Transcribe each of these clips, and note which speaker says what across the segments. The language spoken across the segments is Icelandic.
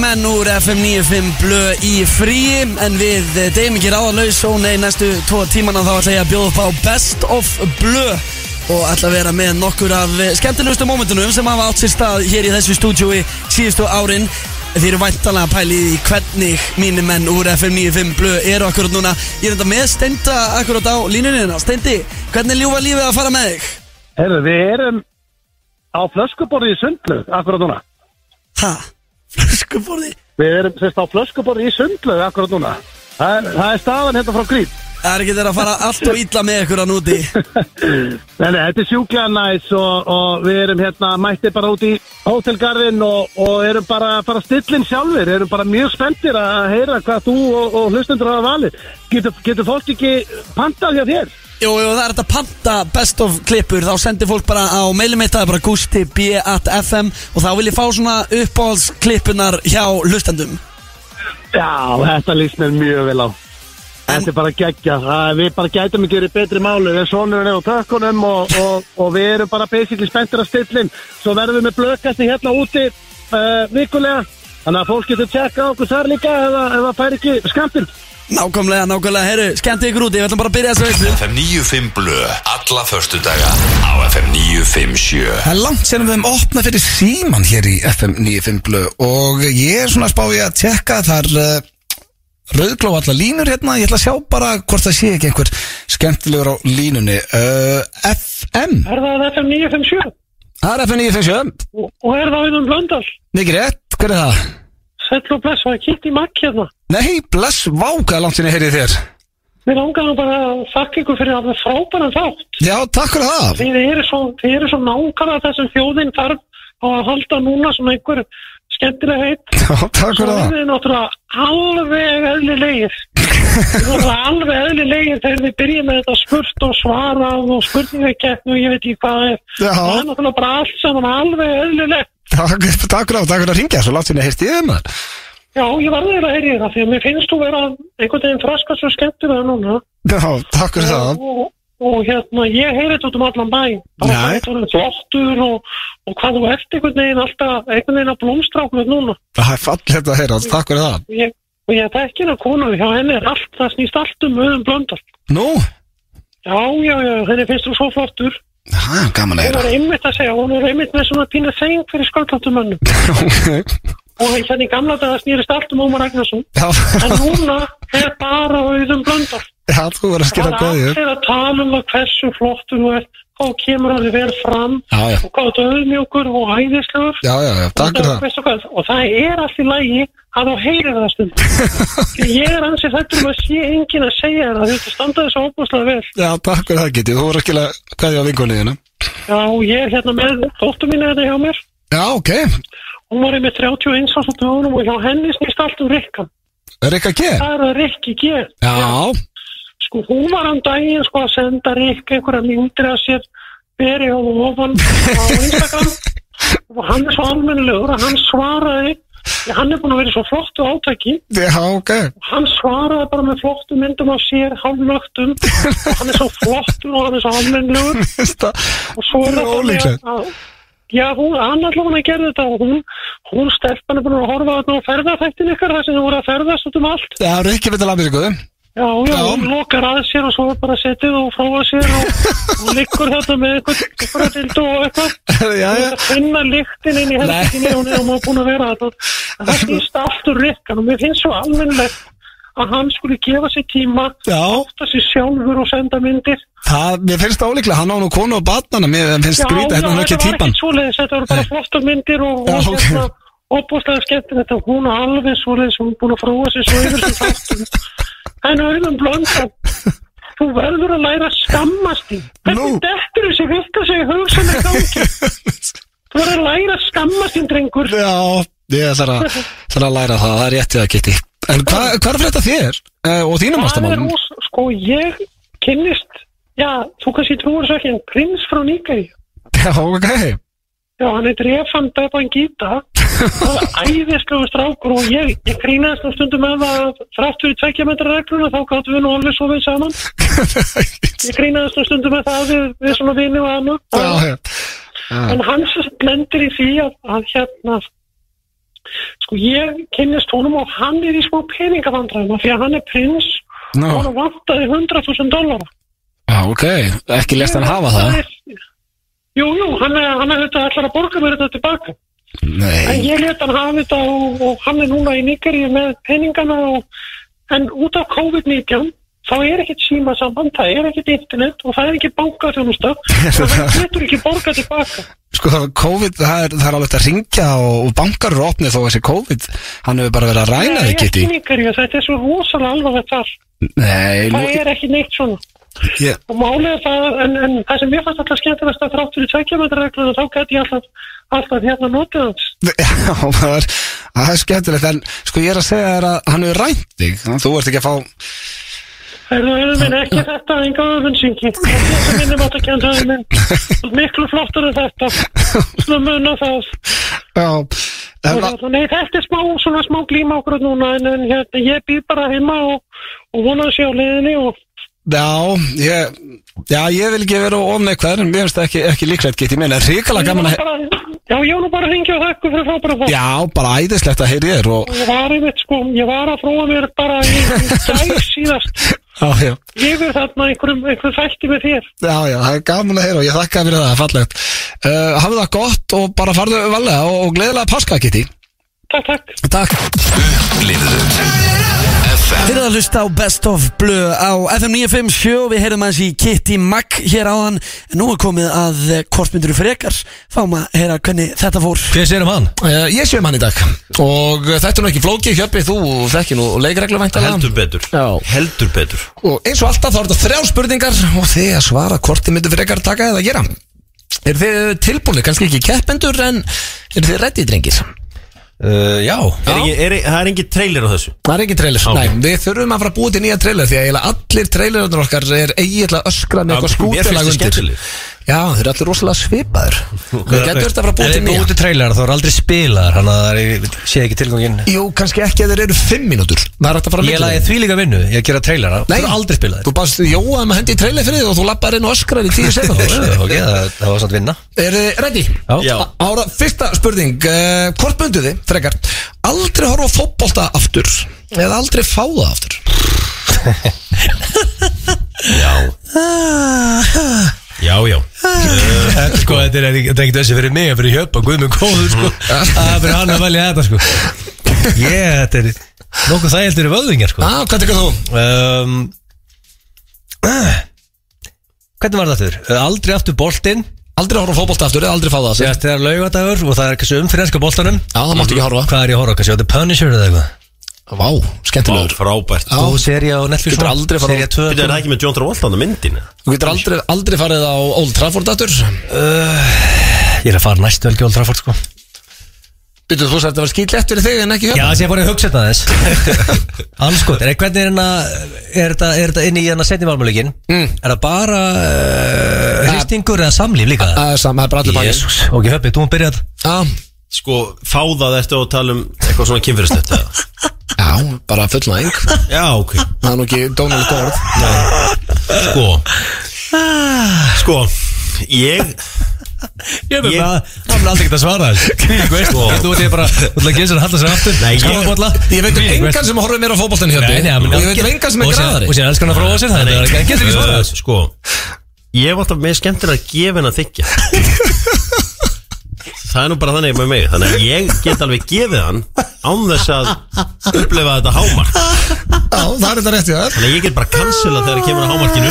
Speaker 1: menn úr FM 95 blöð í frí En við eh, deyjum ekki ráðalaus og nei, næstu tvo tímana þá ætla ég að bjóða upp á Best of blöð Og ætla að vera með nokkur af eh, skemmtilegustu mómentunum sem hafa átt sér stað hér í þessu stúdjói síðustu árin Þið eru væntanlega að pæli í hvernig mínir menn úr FM 95 blöð eru akkurat núna Ég er enda með Steinda akkurat á línunina Steindi, hvernig ljúfa lífið að fara með þig?
Speaker 2: Herru, við erum á flöskuborði í sundlu, akkurat núna.
Speaker 1: Ha? Flöskuborði?
Speaker 2: Við erum sérst á flöskuborði í sundlu, akkurat núna. Það er, það er staðan hérna frá grýt.
Speaker 1: Það er ekki þeirra að fara allt og illa með ykkur að núti
Speaker 2: Nei, nei, eh, þetta er sjúklega næs og, og við erum hérna mætti bara út í hótelgarðin og, og erum bara, bara stillin sjálfur, erum bara mjög spenntir að heyra hvað þú og, og hlustendur hafa valið. Getur, getur fólk ekki pantað hjá þér?
Speaker 1: Jú, jú, það er þetta panta best of klippur Þá sendir fólk bara á mailum mitt Það er bara gusti.b.fm Og þá vil ég fá svona uppáhaldsklipunar hjá hlustendum
Speaker 2: Já, þetta líst mér mjög vel á Þetta er bara geggja Við bara gætum ekki verið betri málu Við sonurinn er á tökkunum og, og, og við erum bara basically spenntir að stillin Svo verðum við með blökasti hérna úti uh, vikulega Þannig að fólk getur tjekka á okkur þar líka ef það- ef það fær ekki skamtinn
Speaker 1: Nákvæmlega, nákvæmlega, herru, skemmti ykkur úti Við ætlum bara að byrja þessu veitlu
Speaker 3: FM 95 Blö Alla förstudaga á FM 957
Speaker 4: Það er langt sérum við höfum opnað fyrir síman hér í FM 95 blö og ég er svona að spá ég að tekka þar uh, rauðgló allar línur hérna, ég ætla að sjá bara hvort það sé ekki einhver skemmtilegur á línunni uh, FM,
Speaker 2: Er það FM 957?
Speaker 4: það er FM 957
Speaker 2: Og, og er það einum blöndal?
Speaker 4: mikið rétt, hver er það?
Speaker 2: Sæll og bless, það er kitt í makk hérna
Speaker 4: Nei, bless, vá, hvað er langt sinni heyrið þér
Speaker 2: Mér langar nú bara að þakka ykkur fyrir alveg frábæran þátt
Speaker 4: Já, takk fyrir það
Speaker 2: Þið eru svo, þið eru svo nákvæmlega þessum þjóðin þarf á að halda núna sem einhver skemmtileg heit.
Speaker 4: Já, takk fyrir
Speaker 2: Svo eru
Speaker 4: það
Speaker 2: þið náttúrulega alveg eðlilegir. Þið eru náttúrulega alveg eðlilegir þegar þið byrjum með þetta spurt og svarað og spurningakeppnu og ég veit ekki hvað það er.
Speaker 4: Já.
Speaker 2: Það er náttúrulega bara allt saman alveg eðlilegt.
Speaker 4: Takk, takk fyrir það, takk fyrir að ringja, svo langt sinni heyrið þér maður
Speaker 2: Já, ég var þeirra að heyri það því að mér finnst þú vera einhvern veginn fraskast svo skemmtilega núna.
Speaker 4: Já, takk fyrir það
Speaker 2: og, og hérna, ég heyri þetta út um allan bæ bara
Speaker 4: Nei.
Speaker 2: þetta er flottur og, og hvað þú ert einhvern veginn alltaf einhvern veginn að blómstra okkur núna
Speaker 4: Það er fallið að heyra, takk fyrir það
Speaker 2: og ég, og ég þekki hérna konu hjá henni er allt, það snýst allt um auðum blöndal
Speaker 4: Nú,
Speaker 2: já, já, já, henni finnst þú svo flottur
Speaker 4: það er gaman að
Speaker 2: hún
Speaker 4: heyra
Speaker 2: er einmitt að segja, hún er einmitt með svona pínu þeng fyrir sköldláttumönnum
Speaker 4: Ok.
Speaker 2: og hérna í gamla daga snýrist allt um Ómar Ragnarsson
Speaker 4: Já,
Speaker 2: en núna er bara auðum blöndal
Speaker 4: já, þú verður að
Speaker 2: það
Speaker 4: skilja
Speaker 2: er
Speaker 4: góðið
Speaker 2: allir að tala um það hversu flottur þú ert hvað þú kemur að þið vel fram
Speaker 4: Já, já,
Speaker 2: og hvað þetta auðmjókur og æðislegur
Speaker 4: já, já, já, takk fyrir
Speaker 2: Og
Speaker 4: það
Speaker 2: veistu hvað, og það er allt í lægi að þú heyrir það stund Því ég er ansið þetta um að sé enginn að segja þér það þetta standa þessu óbúslega vel
Speaker 4: Já, takk fyrir það getið, þú verður að skilja hvað ég á vingunniðinu
Speaker 2: já, og ég er hérna með dóttur mín er hérna hjá mér
Speaker 4: Já, ok,
Speaker 2: hún var með 31 árs á dögunum og hjá henni snýst allt um Rikkan
Speaker 4: er eitthvað að gera?
Speaker 2: það er að Rikki G
Speaker 4: Já,
Speaker 2: sko, hún var án daginn sko að senda Rikki einhverja myndir að sér beri á ofan á Instagram og hann er svo almennilegur að hann svaraði því hann er búin að vera í svo flottu átaki
Speaker 4: já, ok
Speaker 2: hann svaraði bara með flottum myndum af sér, hálfnögtum og hann er svo flottur og hann er svo almennlegur og svo
Speaker 4: Það
Speaker 2: er
Speaker 4: er
Speaker 2: það
Speaker 4: ólíklegt.
Speaker 2: þannig að- Já, hún, hann allavega hann að gera þetta og hún, hún stelpan er búin að horfa þarna á ferðarþættin ykkar þar sem þau voru að ferðast út um allt.
Speaker 4: Já, Rikki veit að lafa sig góðum
Speaker 2: Já, já,
Speaker 4: Já.
Speaker 2: hún lokar að sér og svo er bara setið og fróa sér og hún liggur þetta með eitthvað, eitthvað dildu og eitthvað.
Speaker 4: Já,
Speaker 2: Hún
Speaker 4: já,
Speaker 2: er að finna lyktin inn í helginni og hún er- hún er búin að vera þetta. En það snýst aftur rikkan og mér finnst svo almennlegt að hann skulle gefa sér tíma
Speaker 4: já
Speaker 2: átta sér sjálfur og senda myndir
Speaker 4: Það, mér finnst það ólíklega, hann á nú konu og batnana Mér finnst skrýta, hérna hann er ekki
Speaker 2: þetta var
Speaker 4: típan
Speaker 2: ekki svoleiðis þetta voru bara
Speaker 4: Nei.
Speaker 2: flottar myndir og
Speaker 4: Já,
Speaker 2: og
Speaker 4: ok.
Speaker 2: hérna, opbúslega skemmtir þetta hún er alveg svoleiðis, hún er búin að fróa sér svo yfir sem þáttum en auðvitað blönda þú verður að læra að skammast þín
Speaker 4: Nú.
Speaker 2: hvernig dettur þessi vitt að segja hug sem er gangi þú verður að læra að skammast þín drengur
Speaker 4: Já, ég þarf að, þarf að læra það, það er réttið að geti En hvað hva er frétta þér eh, og þínum
Speaker 2: það er
Speaker 4: ástamannum?
Speaker 2: ós, sko ég kynnist já, þú kannski trúur svo ekki en prins frá Níkari
Speaker 4: Já, ok,
Speaker 2: Já, hann heitir Efan Bebangita og æðislegu strákur og ég, ég grínaðist nú stundum með það að þrátt fyrir tvekja metra regluna þá gáttum við nú alveg svo við saman ég grínaðist nú stundum með það að við, við svona vinni og annað
Speaker 4: já, já
Speaker 2: en hans lendir í því að, að hérna Sko ég kynnist honum og hann er í smá peningavandræðum af því að hann er prins
Speaker 4: Nú.
Speaker 2: og hann vantaði 100.000 dollara.
Speaker 4: Já, ok, ekki lest hann hafa það
Speaker 2: er- Jú, jú, hann er, hann er þetta ætlar að borga mér þetta tilbaka. En
Speaker 4: Nei,
Speaker 2: ég let hann hafa þetta og, og hann er núna í Nigeríu með peningana og, en út af COVID-19 þá er ekkert símasamband, það er ekkert internet og það er ekki bankaþjónusta og það getur ekki borgað tilbaka.
Speaker 4: sko það var COVID, það er, það er alveg hægt að ringja og, og bankar eru opnið þó að þessi COVID Hann hefur bara verið að ræna
Speaker 2: Nei,
Speaker 4: þig,
Speaker 2: ekki
Speaker 4: Kitty
Speaker 2: í Nigeríu, þetta er svo rosalega alvarlegt þar.
Speaker 4: Nei, nú,
Speaker 2: Það er ekki neitt svona.
Speaker 4: ég,
Speaker 2: Og málið er það, en, en það sem mér fannst alltaf skemmtilegast að þrátt fyrir tveikjumandarregluna þá gæti ég alltaf, alltaf hérna notið hans.
Speaker 4: Já, það er, það er skemmtilegt En sko ég er að segja þér að hann hefur rænt þig þannig að Þú ert ekki að fá
Speaker 2: Herðu, auðvitað minn, ekki þetta, enga öfunnsyngi. Þetta minnum átt að kenda auðvitað minn. Miklu flottur en þetta. Svona munna það.
Speaker 4: Já, en,
Speaker 2: Og það- Nei, þetta er smá, svona smá glíma okkur núna, en, en hérna, ég býr bara heima og, og vona að sé á leiðinni og
Speaker 4: Já, ég, já, ég vil ekki vera ofneikvæður en mér finnst það ekki, ekki líklegt get ég meina ríkala gaman að he-
Speaker 2: bara, já, ég var nú bara að ringja og þakku fyrir frábæra það.
Speaker 4: Já, bara æðislegt að heyri þér og
Speaker 2: Ég var einmitt, sko, ég var að fróa mér bara í, í dag síðast.
Speaker 4: Já, já,
Speaker 2: Ég verð þarna einhverjum, einhverjum þætti með þér.
Speaker 4: já, já, það er gaman að heyra og ég þakka fyrir það, fallegt uh, Hafið það gott og bara farðu valega og, og gleðilega páska get ég
Speaker 2: Takk, takk.
Speaker 4: Takk
Speaker 3: Upplifðu FM
Speaker 1: Þeir eru að hlusta á Best of Blue á FM 957 og við heyrðum aðeins í Kitty Mack hér áðan en nú er komið að eh, hvort myndur þú frekar fáum að heyra hvernig þetta fór
Speaker 5: Hver sér um hann?
Speaker 4: Eh,
Speaker 5: ég sér um hann í dag Og eh, þetta er nú ekki flókið Hjöppi, þú þekkir nú leikreglu væntalega
Speaker 6: Heldur betur
Speaker 5: Já.
Speaker 6: Heldur betur
Speaker 4: Og eins og alltaf þá eru þetta þrjá spurningar og þið að svara hvort þið myndu frekar taka eða gera Er þið tilbúinni, kannski ekki keppendur en eru þið reddið drengir?
Speaker 6: uh, Já, er
Speaker 4: Já.
Speaker 6: Ekki, er, Það er engin trailer á þessu
Speaker 4: Það er ekki trailer,
Speaker 6: Ok.
Speaker 4: nei, við þurfum að fara að búa til nýja trailer því að eiginlega allir trailerarnir okkar er eiginlega öskrað með
Speaker 6: Já,
Speaker 4: eitthvað
Speaker 6: mér finnst
Speaker 4: skútelag
Speaker 6: þið
Speaker 4: undir
Speaker 6: skemmtileg.
Speaker 4: Já, þeir eru allir rosalega svipaður Við getum þetta að fara að búa til nýja
Speaker 5: til trailer, þá er aldrei spilaðar Þannig að það sé ekki tilgangin
Speaker 4: Jú, kannski ekki að þeir eru fimm mínútur Það er hægt að fara að
Speaker 5: Ég lagði því líka vinnu, ég gera trailera Þú er aldrei spilaðir
Speaker 4: Þú baðst Jóa um að hendi í trailer fyrir þig og þú lappar inn og öskrar í tíu setna
Speaker 5: Ok, það það var samt vinna
Speaker 4: Er þið ready?
Speaker 5: Já.
Speaker 6: Já.
Speaker 4: Á- Ára, fyrsta spurning uh, Hvort myndu þið, frekar Aldrei horfa á fótbolta aftur Eða aldrei fá það aftur Ah.
Speaker 6: Já, já
Speaker 5: Þetta, Sko, þetta er ekki- þetta er ekkert þessi fyrir mig en Fyrir hjöpa, guð minn góður sko.
Speaker 4: Mm.
Speaker 5: Það er fyrir hann að velja þetta sko. Ég, þetta er Nókuð það heldur er vöðvingar sko.
Speaker 4: ah, Hvað tekur þú?
Speaker 5: um, uh, Hvernig var þetta þurr? Aldrei aftur boltinn
Speaker 4: Aldrei horfa á fótbolta aftur eða aldrei fá það aftur
Speaker 5: Þetta er laugadagur og það er kannski um fyrir ennska boltanum
Speaker 4: Já, það máttu ekki horfa
Speaker 5: Hvað er ég að horfa? Kannski á The Punisher eða eitthvað
Speaker 4: Vá,
Speaker 6: Vá,
Speaker 4: skemmtilegur
Speaker 6: Frábært
Speaker 4: Já.
Speaker 5: Góð serið á Netflix
Speaker 4: Getur aldrei fara á-
Speaker 5: Serið 2
Speaker 6: Þetta er það ekki með John Travolta á myndinu
Speaker 4: Þú getur aldrei, aldrei farið á Old Trafford aftur
Speaker 5: Ég er að fara næstu velgi Old Trafford sko
Speaker 4: Býttu þú sér að þetta var skýtlegt fyrir þig en ekki
Speaker 5: Já,
Speaker 4: hérna
Speaker 5: þessi ég bara að hugsa þetta þess Alls gott, er hvernig er hérna Er þetta- er þetta inn í hérna setni valmöluleikin
Speaker 4: Mm.
Speaker 5: Er það bara uh, Hristingur eða samlíf líka
Speaker 4: Það er saman, það er bara allir bakið
Speaker 5: Jésús, ok, höppi, þú maður byrjað
Speaker 4: Já,
Speaker 6: Sko, fá það eftir að tala um eitthvað svona kynfyrirstött
Speaker 4: já, bara fullnæðing Það
Speaker 6: Já, ok
Speaker 4: er nú ekki Donald Gord
Speaker 6: Sko Sko, ég
Speaker 5: Ég
Speaker 6: Ég-
Speaker 5: Það er aldrei ekki að svara þess Veist þú, þú ert ég bara Þú ætla að gilsa að halla sér aftur Sko,
Speaker 6: Nei, ég-
Speaker 5: Skammabolla
Speaker 4: Ég veit um engan sem horfið mér á fótboltan hérna
Speaker 5: Nei, nei,
Speaker 4: Og
Speaker 5: menn-
Speaker 4: ég veit um engan sem
Speaker 5: Og
Speaker 4: er
Speaker 5: síðan-
Speaker 4: graðari
Speaker 5: Og sér elskan að fróa sér Það er ekki, getur ekki svarað
Speaker 6: Uh,
Speaker 5: þessu
Speaker 6: Sko, ég hef alltaf með skemmtilega að gefa en að þykja Það er nú bara þannig með mig Þannig að ég get alveg gefið hann án þess að upplefa þetta hámark
Speaker 4: Já, það er þetta rétt í það
Speaker 6: Þannig að ég get bara cancela þegar það kemur að
Speaker 4: Og
Speaker 6: hámarkinu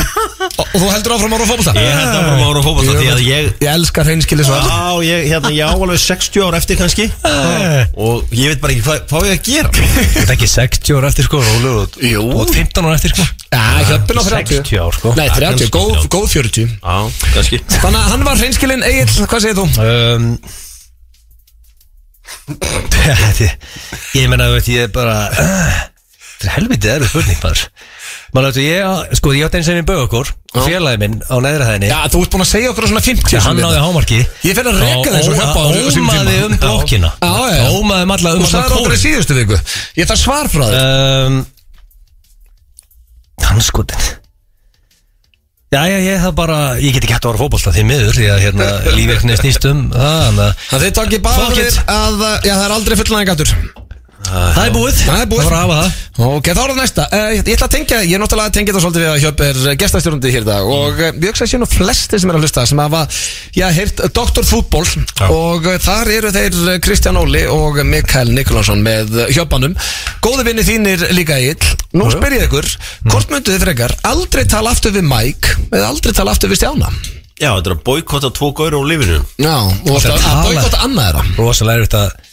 Speaker 4: og þú heldur áfram að horfa á fótbolta
Speaker 6: Ég held að bara ára og fókbalt Því að ég
Speaker 4: Ég elska hreinskili svar
Speaker 6: Já, ég, hérna, ég á alveg 60 ár eftir kannski Og ég veit bara ekki hvað, hvað á ég að gera
Speaker 5: Eh. Þetta er ekki 60 ára eftir sko Rólur og
Speaker 4: Jú.
Speaker 5: og 15 ára eftir sko
Speaker 4: Já, hjöppin á 30
Speaker 5: 60 ár sko
Speaker 4: Nei, 30, góð, góð 40
Speaker 6: Já, kannski
Speaker 4: Þannig að hann var hreinskilin, Egil, hvað segir þú?
Speaker 5: um, Þetta er- Ég menna, þú veit, ég er bara Þetta er helviti erfið spurning bara Maður veit, ég, sko, ég átti eins og minn bögur Félagi minn á neðra hæðinni
Speaker 4: Já, þú ert búin að segja okkur á svona 50
Speaker 5: Hann
Speaker 4: sem við-
Speaker 5: náði hámarki
Speaker 4: Ég fer að reka þeim svo hjöppa á þessu- á sínum
Speaker 5: Ómaði
Speaker 4: tíma.
Speaker 5: um blokkina
Speaker 4: Já, já, já.
Speaker 5: Ómaði um alla
Speaker 4: Þú
Speaker 5: um alla
Speaker 4: sagði okkur í
Speaker 5: kórinn.
Speaker 4: síðustu viku Ég þarf svar
Speaker 5: Ehm,
Speaker 4: frá þér
Speaker 5: um, Hanskotin Já, já, ég það bara, ég get ekki hægt að vera fótbolta því miður Því að hérna lífið ekki snýst um það Þannig að
Speaker 7: Það þið takkir bara
Speaker 5: Fuck
Speaker 7: fyrir
Speaker 5: it.
Speaker 7: að uh, Já, það er aldrei fullnæðing aftur
Speaker 5: það er búið
Speaker 7: Það er búið.
Speaker 5: Það var að hafa það
Speaker 7: Ok, þá er það næsta uh, Ég ætla að tengja, ég er náttúrulega að tengja þetta svolítið við að Hjöp er eh, gestastjórandi hér í dag Og uh, ég hugsa að sé nú flestir sem er að hlusta Sem hafa, já, heyrt eh, Dr. Fútbol Og uh, þar eru þeir eh, Kristján Óli og Mikael Nikolásson Með eh, Hjöpanum Góði vinni þínir líka ill Nú spyr ég ykkur,
Speaker 4: Mm.
Speaker 7: hvort myndu þið frekar Aldrei tala aftur við Mike Eða aldrei tala aftur við Stjána
Speaker 6: Já, þetta er að boykotta tvo gaur úr lífinu
Speaker 7: Já, og
Speaker 5: Aldrei
Speaker 7: að, að
Speaker 5: tala.
Speaker 7: boykotta annað þeirra
Speaker 5: Rosalega erfitt að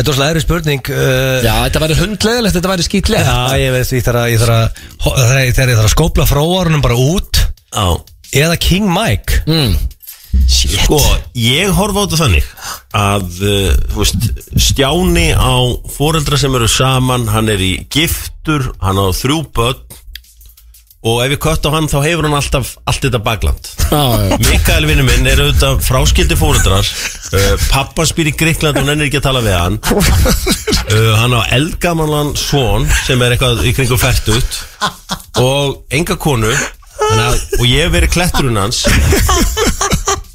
Speaker 5: Þetta er rosalega erfið spurning uh,
Speaker 7: Já, þetta væri hundleðilegt, þetta væri skítleðilegt
Speaker 5: Já, ég veist, ég þarf að Ég þarf að, ho- þegar ég- þegar ég þarf að skópla fróarunum bara út
Speaker 6: Já
Speaker 5: Eða King Mike
Speaker 7: Mm.
Speaker 6: Sko, ég horfa á þetta þannig að, uh, þú veist, stjáni á foreldra sem eru saman, hann er í giftur, hann á þrjú börn og ef ég kött á hann þá hefur hann alltaf allt þetta bakland.
Speaker 7: Já, já.
Speaker 6: Mikael vinnu minn er auðvitað fráskildi fóreldrar uh, Pappan spyr í Gríkland og nennir ekki að tala við hann uh, Hann á eldgamanlan svon sem er eitthvað í kringum fært út og enga konu þannig að, og ég hef verið kletturinn hans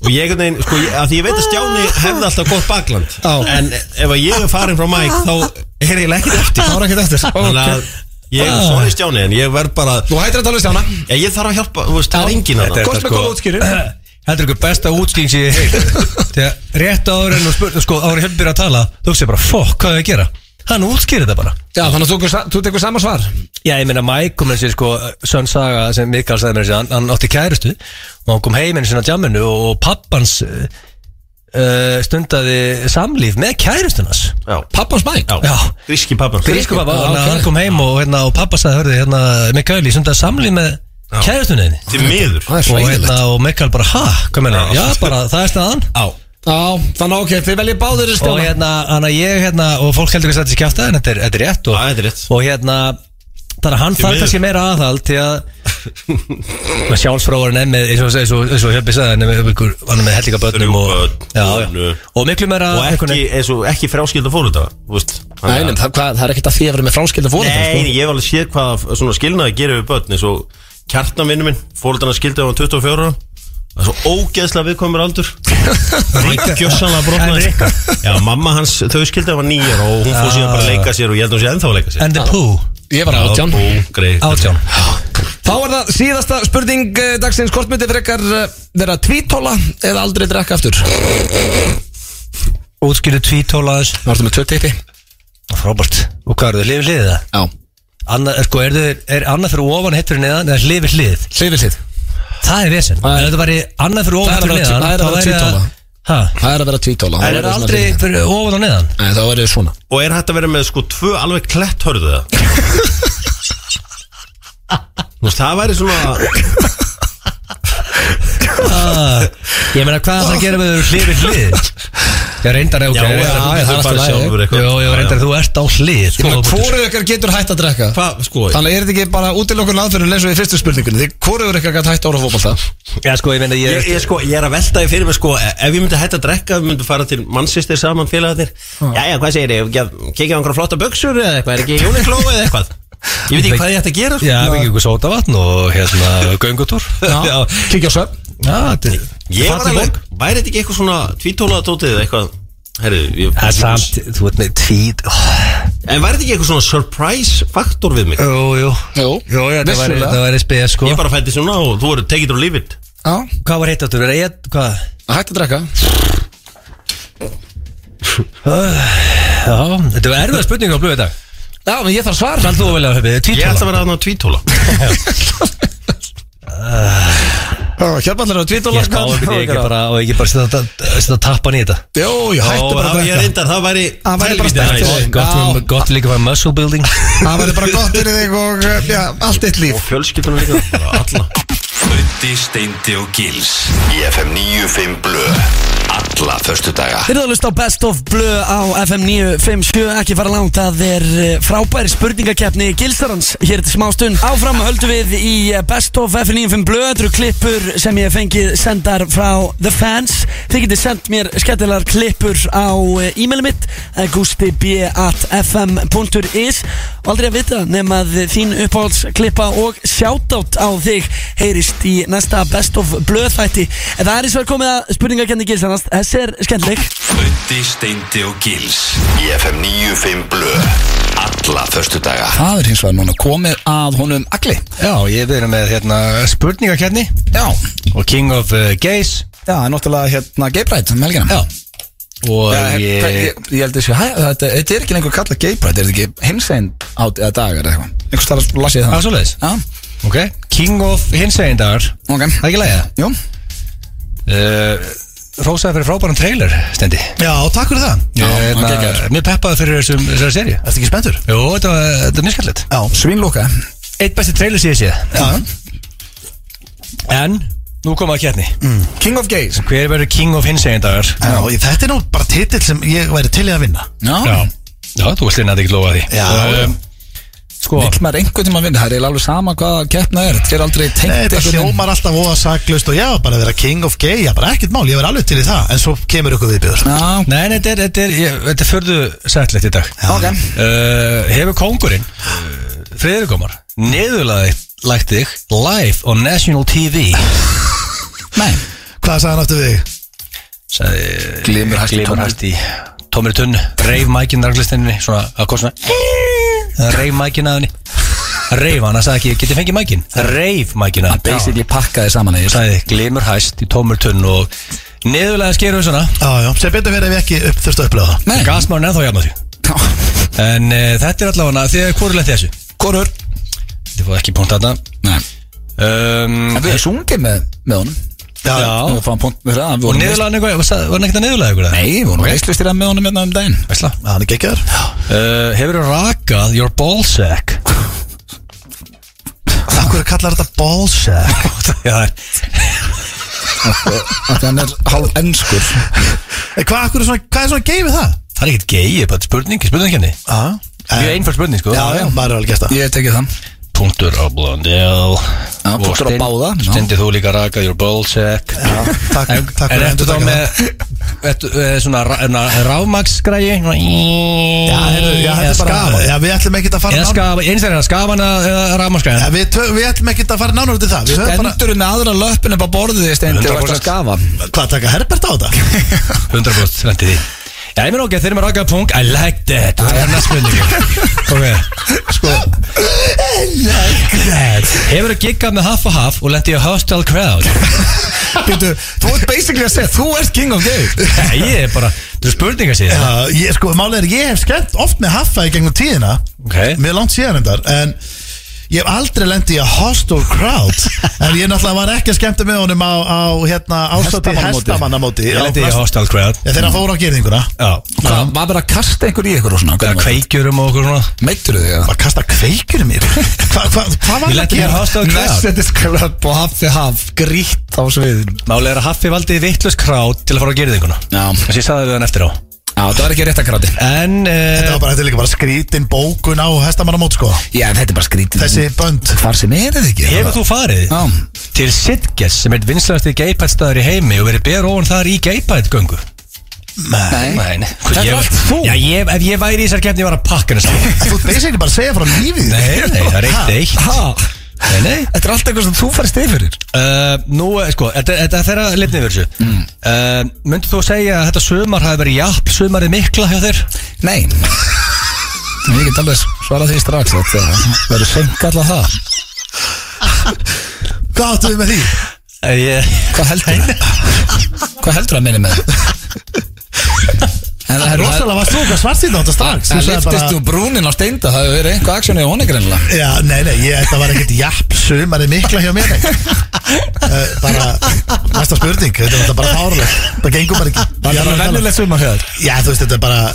Speaker 6: og ég einhvern veginn sko, ég- af því ég veit að Stjáni hefði alltaf gott bakland en ef að ég er farin frá Mike þá er ég ekkert eftir
Speaker 7: Það var ekkert eftir
Speaker 6: þannig að ég, sorry Stjáni en ég verð bara
Speaker 7: Ah. Þú hættir að tala við Stjána
Speaker 6: ég, ég þarf að hjálpa, þú veist, það er enginn
Speaker 5: Þetta
Speaker 6: hann
Speaker 5: er
Speaker 7: Gott
Speaker 5: sko- þetta
Speaker 7: með góða útskýrin
Speaker 5: Heldur ykkur besta útskýring sem ég heit Þegar rétt áður en og spurning Sko, áður en Hjörn byrja að tala Þú hugsaði bara, fokk, hvað er að gera? Hann útskýrir þetta bara
Speaker 7: Já, þannig að þú, þú tekur sama svar
Speaker 5: Já, ég meina Mike kom þessi sko Sönn Saga sem Mikael sagði mér þessi hann, hann átti kærustu og hann kom heim einu sinna djamminu og, og pappans uh, stundaði samlíf með kærustunas
Speaker 7: Pappans mæk
Speaker 6: Já.
Speaker 5: Já,
Speaker 6: Gríski pappan
Speaker 5: grísku pappa
Speaker 7: Já,
Speaker 5: hann,
Speaker 7: ok.
Speaker 5: hann kom heim og, hérna, og pappa sagði hörði hérna, Mikael, ég stundaði samlíf með kærustunniðinni
Speaker 6: Til miður
Speaker 7: Það er
Speaker 5: og,
Speaker 7: svæðilegt
Speaker 5: hérna, og Mikael bara, ha, hvað meina Já, bara, það er staðan
Speaker 6: Já
Speaker 7: Já, þannig að ok, þið veljið báðir í
Speaker 5: og
Speaker 7: Stjána
Speaker 5: hérna, hann að ég hérna og fólk heldur ekki að þetta sé kjæfta en þetta er, þetta er rétt og,
Speaker 6: Já, þetta er rétt.
Speaker 5: og hérna þannig að hann
Speaker 6: miður.
Speaker 5: þarf kannski meira aðhald til að með sjálfsfróðurinn er með eins og, eins og, eins og Hjöbbi sagði hann er með, ykkur- hann er með hellinga börnum
Speaker 6: Þrjú
Speaker 5: og,
Speaker 6: börn,
Speaker 5: já,
Speaker 6: konu.
Speaker 5: já, og miklu meira
Speaker 6: Og
Speaker 5: einhvern
Speaker 6: ekki,
Speaker 5: veginn-
Speaker 6: eins og ekki fráskilda fórhundra
Speaker 7: Nei, nei,
Speaker 6: Nei,
Speaker 7: það, hvað, það er ekkert að því að vera með sko. fráskilda fóröldar
Speaker 6: nei, ég hef alveg séð hvað svona skilnaði gerir við börn eins og kjartanvinnu minn, fórhundrana skildi á hann 24 ára. það er svo ógeðslega viðkomur aldur Ríkjössanlega brotnaði Já, mamma hans, þau skildi á hann nýjar og hún fór síðan bara að leika sér og ég held að hún sé ennþá að leika sér
Speaker 5: and the poo
Speaker 7: Ég var átján
Speaker 6: Greið
Speaker 5: átján
Speaker 7: Þá er það síðasta spurning eh, dagsins Hvort myndið frekar eh, vera tvítóla eða aldrei drekka aftur Það
Speaker 5: útskýrðu tvítólaðis
Speaker 7: varstu með tvö tippi
Speaker 5: frábært og hvað eru þau, lifið liðið það?
Speaker 7: Já
Speaker 5: Annað, er, sko, er, þið, er annað fyrir ofan heitt fyrir neðan eða lifið hlið?
Speaker 7: Hlifið hlið
Speaker 5: Það er vesen
Speaker 7: Það er-
Speaker 5: Ef þetta væri annað fyrir
Speaker 7: Það er
Speaker 5: ofan
Speaker 7: að
Speaker 5: fyrir
Speaker 7: vera-
Speaker 5: neðan
Speaker 7: það er að vera tvítóla.
Speaker 5: þá væri Ha?
Speaker 7: Það er að vera tvítóla
Speaker 5: Það er aldrei fyrir ofan og neðan
Speaker 7: Nei, þá er það svona
Speaker 6: Og er hægt að vera með sko tvö alveg klett hörðu það? Þú veist, það væri svona
Speaker 5: Ég meina hvað það að gera með þau hlið við hlið Ég reyndar ok
Speaker 6: Já, já,
Speaker 5: það er
Speaker 6: þú
Speaker 5: allt í
Speaker 6: bara
Speaker 5: lagi.
Speaker 6: sjálfur eitthvað.
Speaker 5: Jó, ég reyndar þú ert á hlið sko, þú bútur-
Speaker 7: Hvorið ykkar getur hætt að drekka?
Speaker 6: Hvað, sko,
Speaker 7: Þannig er þetta ekki bara útilokun aðferðin eins og í fyrstu spurningunni Því hvorið ykkar gæti hætt ára fótbolta?
Speaker 5: Já, sko, ég meina
Speaker 6: ég,
Speaker 5: ég
Speaker 6: ég, sko, ég er að velta því fyrir mig sko, ef ég myndi hætta að drekka, við myndum fara til mannsýstir saman félagarnir Jæja, hvað segir ég, kekja á einhverja flotta buksur eða eitthvað, er ekki Jónikló eða eitthvað Ég veit ekki hvað ég ætti að gera sko.
Speaker 5: Já, við ekki ykkur sótavatn og hérna göngutúr Já,
Speaker 7: Kíkja á svefn
Speaker 5: já þetta er-
Speaker 6: Ég var
Speaker 5: Falleg
Speaker 6: alveg,
Speaker 5: borg.
Speaker 6: væri þetta ekki eitthvað svona tvítólaða tótið eða eitthvað Herri, ég,
Speaker 5: Það er samt, þú ert með tvít ó,
Speaker 6: En væri þetta ekki eitthvað svona surprise faktor við mig
Speaker 5: Jú,
Speaker 7: Jú,
Speaker 5: jú Jú, já, þetta væri-
Speaker 7: vissulega.
Speaker 5: þetta væri spes, sko
Speaker 6: Ég bara fætti svona og þú eru tekið úr lífið
Speaker 7: Já,
Speaker 5: Hvað var heitt áttur? Hvað?
Speaker 7: hætt að drekka
Speaker 5: Já, þetta var erfiða spurning á blöðu í dag
Speaker 7: Já, menn ég þarf svar
Speaker 5: Hvað er þú að velja að höfðu?
Speaker 6: Ég ætla að
Speaker 5: Tvítóla
Speaker 6: vera þarna tvítóla
Speaker 7: Hjálpallar á Twitter
Speaker 5: Ég spáði ekki, ég ekki bara, og ég ekki bara setja setja tappan í þetta
Speaker 7: Jú, jú, hættu bara að
Speaker 6: Og ég
Speaker 7: drekka
Speaker 6: reyndar, það væri
Speaker 7: Það væri bara
Speaker 6: helvítið
Speaker 7: sterkt.
Speaker 6: næs.
Speaker 5: Gott,
Speaker 7: Já.
Speaker 5: við- gott líka var muscle building
Speaker 7: Það verður bara gott fyrir þig og eh, já, allt þitt líf
Speaker 6: Og fjölskyldunum líka, bara alla
Speaker 3: Ötti, Steindi og Gils Í FM 95 Blö Alla förstu föstudaga
Speaker 1: Þeir eru að hlusta á Best of Blö á FM 957 Ekki fara langt, það er eh, frábær spurningakeppni Gilsarans Hér til smá stund Áfram höldum við í eh, Best of FM 95 Blö Þetta eru klippur sem ég hef fengið sendar frá The Fans Þið getið sendt mér skemmtilegar klippur á eh, e-mailið mitt gustib.fm.is Og aldrei að vita nema að þín uppáhaldsklippa og shoutout á þig heyrist í næsta Best of Blö þætti En það er eins og er komið að spurningakeppni Gilsarans Þessi er skemmtileg
Speaker 3: Ötti, Steindi og Gils Í FM 95 Blö Alla föstudaga
Speaker 4: Það er hins vegar núna komið að honum agli
Speaker 5: Já, ég verið með hérna spurningakerni
Speaker 4: Já,
Speaker 5: og King of uh, Gays
Speaker 4: já, það er náttúrulega hérna geibrætt um helgina Já,
Speaker 5: og
Speaker 4: ég,
Speaker 5: ég,
Speaker 4: ég, hérna, ég, held þessu, hæ, þetta, þetta er ekki lengur kallað geibrætt, er þetta ekki hinsvegin át eða dagar eða eitthvað Einhvers þar að lasið
Speaker 5: Það er
Speaker 4: það
Speaker 5: svoleiðis
Speaker 4: Já,
Speaker 5: Ok, King of Hinsegindagar
Speaker 4: ok
Speaker 5: Það er ekki lægja
Speaker 4: Jú,
Speaker 5: uh, Rósaði fyrir frábæran trailer, Stendi
Speaker 8: Já, takk fyrir það
Speaker 5: Já,
Speaker 4: hann geggjaður.
Speaker 5: Mér peppaði fyrir þessum, þessari serju
Speaker 8: Ertu ekki spenntur?
Speaker 5: Jú, þetta var, þetta var mjög skallið
Speaker 4: svínlóka
Speaker 5: Eitt besti trailer síðan séð
Speaker 8: Já,
Speaker 5: En, nú kom að kjarni
Speaker 4: King of Gays
Speaker 5: Hver verður King of Hinsegindagar?
Speaker 8: já ég- þetta er nú bara titill sem ég væri til í að vinna
Speaker 4: Já,
Speaker 5: Já Já, þú veist lina að ekki lofa því
Speaker 8: Já,
Speaker 5: um, Sko
Speaker 4: vill maður einhvern tíma vinna, það er eiginlega alveg sama hvaða keppna er Þetta er aldrei tengt
Speaker 8: Nei, þetta
Speaker 4: einhvern veginn.
Speaker 8: hljómar alltaf óa saklaust og já, bara að vera king of gay, já, bara ekkert mál, ég var alveg til í það En svo kemur ykkur viðbjöður
Speaker 4: Já,
Speaker 5: Nei, nei, þetta er, þetta er, ég- þetta er förðu sætlegt í dag
Speaker 4: ok
Speaker 5: uh, Hefur kóngurinn uh, Friðurkomar Niðurlægt þig live on national TV
Speaker 4: Nei,
Speaker 8: Hvað sagði hann aftur við þig?
Speaker 5: Sagði,
Speaker 4: Glymur hæst í
Speaker 5: Glymur
Speaker 4: tómri-
Speaker 5: hæst í tómri tunnu Reif mækinn ranglistinni Svona að kostna Reif mækinn að henni Reif hann, það sagði ekki, getið fengið mækinn Reif mækinn að henni
Speaker 4: basically pakkaði saman eða ég
Speaker 5: Sæði, glimur hæst í tómur tunnu Og niðurlega skerum við svona
Speaker 8: Já, já, sem betur verið ef ég ekki upp, þurftu að upplega það
Speaker 4: Nei.
Speaker 5: Gasmán ennþá jafn á því En e, þetta er allavega, því að hvorulegt þessu
Speaker 4: Korur
Speaker 5: Þið fóðu ekki punkt þarna
Speaker 4: Nei
Speaker 5: um,
Speaker 4: En við hefum sungið með, með honum
Speaker 8: Já, já,
Speaker 4: Við
Speaker 5: Já,
Speaker 4: fáum punkt með það við
Speaker 5: og
Speaker 4: vorum veist-
Speaker 5: niðurlega eitthvað Var hann ekkert að niðurlega ykkur það?
Speaker 4: Nei, við vorum veistlustýrað með honum hérna um daginn
Speaker 5: Veistla
Speaker 8: hann er geggjaður
Speaker 5: uh, Hefur þú rakað your ballsack?
Speaker 8: Akkur kallar þetta ballsack
Speaker 5: Já, það er
Speaker 4: Þannig að hann er hálf ennskur
Speaker 8: Eh, Hvað akkur er svona, hvað er svona gay við það?
Speaker 5: Það er ekkert geið, bara spurning, spurning henni
Speaker 8: Já,
Speaker 5: Mjög
Speaker 8: Ah, en-
Speaker 5: einfært spurning, sko
Speaker 8: já, já, maður er alveg gert það
Speaker 4: Ég tekið það
Speaker 5: Punktur á blondel
Speaker 4: Já, punktur á báða, já.
Speaker 5: Stendir þú líka raka your ballsack
Speaker 8: Já, Takk,
Speaker 5: En
Speaker 8: takk
Speaker 5: en
Speaker 8: fyrir
Speaker 5: ertu þá
Speaker 8: endurtaka það.
Speaker 5: með ertu, eh, Svona rámaksgræði
Speaker 8: Já, heyrðu, já, þetta er bara Já, við ætlum ekkert að fara
Speaker 5: Eða
Speaker 8: nánar
Speaker 5: skafa, eins er það skafana eða
Speaker 8: Já,
Speaker 5: rámaksgræði
Speaker 8: við, tvö- við ætlum ekkert að fara nánar út í það Við höfum bara,
Speaker 4: Endur með aðra löppin upp á borðið því stendur og ert að
Speaker 5: 100%.
Speaker 4: skafa
Speaker 8: hvað taka Herbert á þetta?
Speaker 5: 100% lendi því Já, ég meina ok, þeir eru með rakaða pung I like that Það er næst spurning Ok, sko I like that Hefur þú giggað með half og half og lendi í a hostile crowd
Speaker 8: Býtu,
Speaker 4: Þú ert basically að segja, þú ert king of gay
Speaker 5: Nei, ég er bara Þú eru spurningar
Speaker 8: já,
Speaker 5: síðan
Speaker 8: ég, sko, málið er, ég hef skemmt oft með haffa í gegnum tíðina
Speaker 5: Ok.
Speaker 8: Mér langt síðan endar, en Ég hef aldrei lendi í a hostile crowd En ég náttúrulega var ekki að skemmta með honum á, á hérna, ástætti
Speaker 4: Hestamannamóti.
Speaker 8: hestamannamóti
Speaker 5: Ég lendi í a
Speaker 8: á-
Speaker 5: hostile crowd
Speaker 8: Já, Þegar hann fór á gerðinguna
Speaker 5: Já
Speaker 4: Hvað, var bara að kasta einhver í ykkur og svona
Speaker 5: Bara kveikjurum og okkur svona
Speaker 4: Meittur þig eða?
Speaker 8: Að kasta kveikir mér Eh. Hvað hva, hva var
Speaker 5: Ég
Speaker 8: það að
Speaker 5: lendi í a
Speaker 8: gera?
Speaker 5: hostile crowd
Speaker 4: Messetis club og hafði haf Grýtt á sviðin
Speaker 5: Máli er að Haffi valdi vittlust crowd til að fara á gerðinguna
Speaker 4: Já, já,
Speaker 5: Þessi ég sagði við hann eftir á
Speaker 4: það var ekki rétt að gráti
Speaker 5: En
Speaker 8: Þetta
Speaker 5: uh,
Speaker 8: var bara, þetta er líka bara skrítin bókun á hestamannamóti sko
Speaker 4: Já, en þetta er bara skrítið
Speaker 8: Þessi bönd
Speaker 4: Hvar sem er þetta ekki?
Speaker 5: hefur þú farið
Speaker 4: Já,
Speaker 5: til Sitges sem er vinslasti geipætstaður í heimi og verið ber ofan þar í geipætgöngu?
Speaker 4: nei
Speaker 5: Nei, nei
Speaker 4: Þetta er
Speaker 5: Ég-
Speaker 4: allt þú.
Speaker 5: Já, ég, ef ég væri í þessar keppni ég var að pakka henni saman
Speaker 8: Þú ert basically bara að segja frá lífið þínu.
Speaker 5: Nei, nei, það er eitt eitt
Speaker 4: Ha?
Speaker 5: Nei, nei
Speaker 4: Þetta er allt eitthvað sem þú fær stið fyrir
Speaker 5: uh, Nú, eh, sko, þetta þetta er þeirra litni yfir þessu mm. uh, Myndu þú segja að þetta sumar hafi verið jafn sumarið mikla hjá þér?
Speaker 4: Nei Ég get alveg svarað því strax að það verður senka alltaf það
Speaker 8: Hvað áttu við með því?
Speaker 5: Uh, ég,
Speaker 4: Hvað heldur það? Hvað heldur það minni með það? En það er rosalega
Speaker 8: Rosalega varst þú okkar svart síðan á þetta strax Þú
Speaker 4: Það
Speaker 8: sagði
Speaker 4: liftist úr brúnin á steinda, það hefur verið einhvað aksjónu í honi greinlega
Speaker 8: Já, nei, nei, ég, þetta var ekkert japp Sumarið mikla hjá mér nei. Eh, Bara, næsta spurning Þetta var þetta bara fárlegt Það gengur bara ekki Ég alveg að tala. um-
Speaker 4: sumar hér
Speaker 8: Já, þú veist, þetta er bara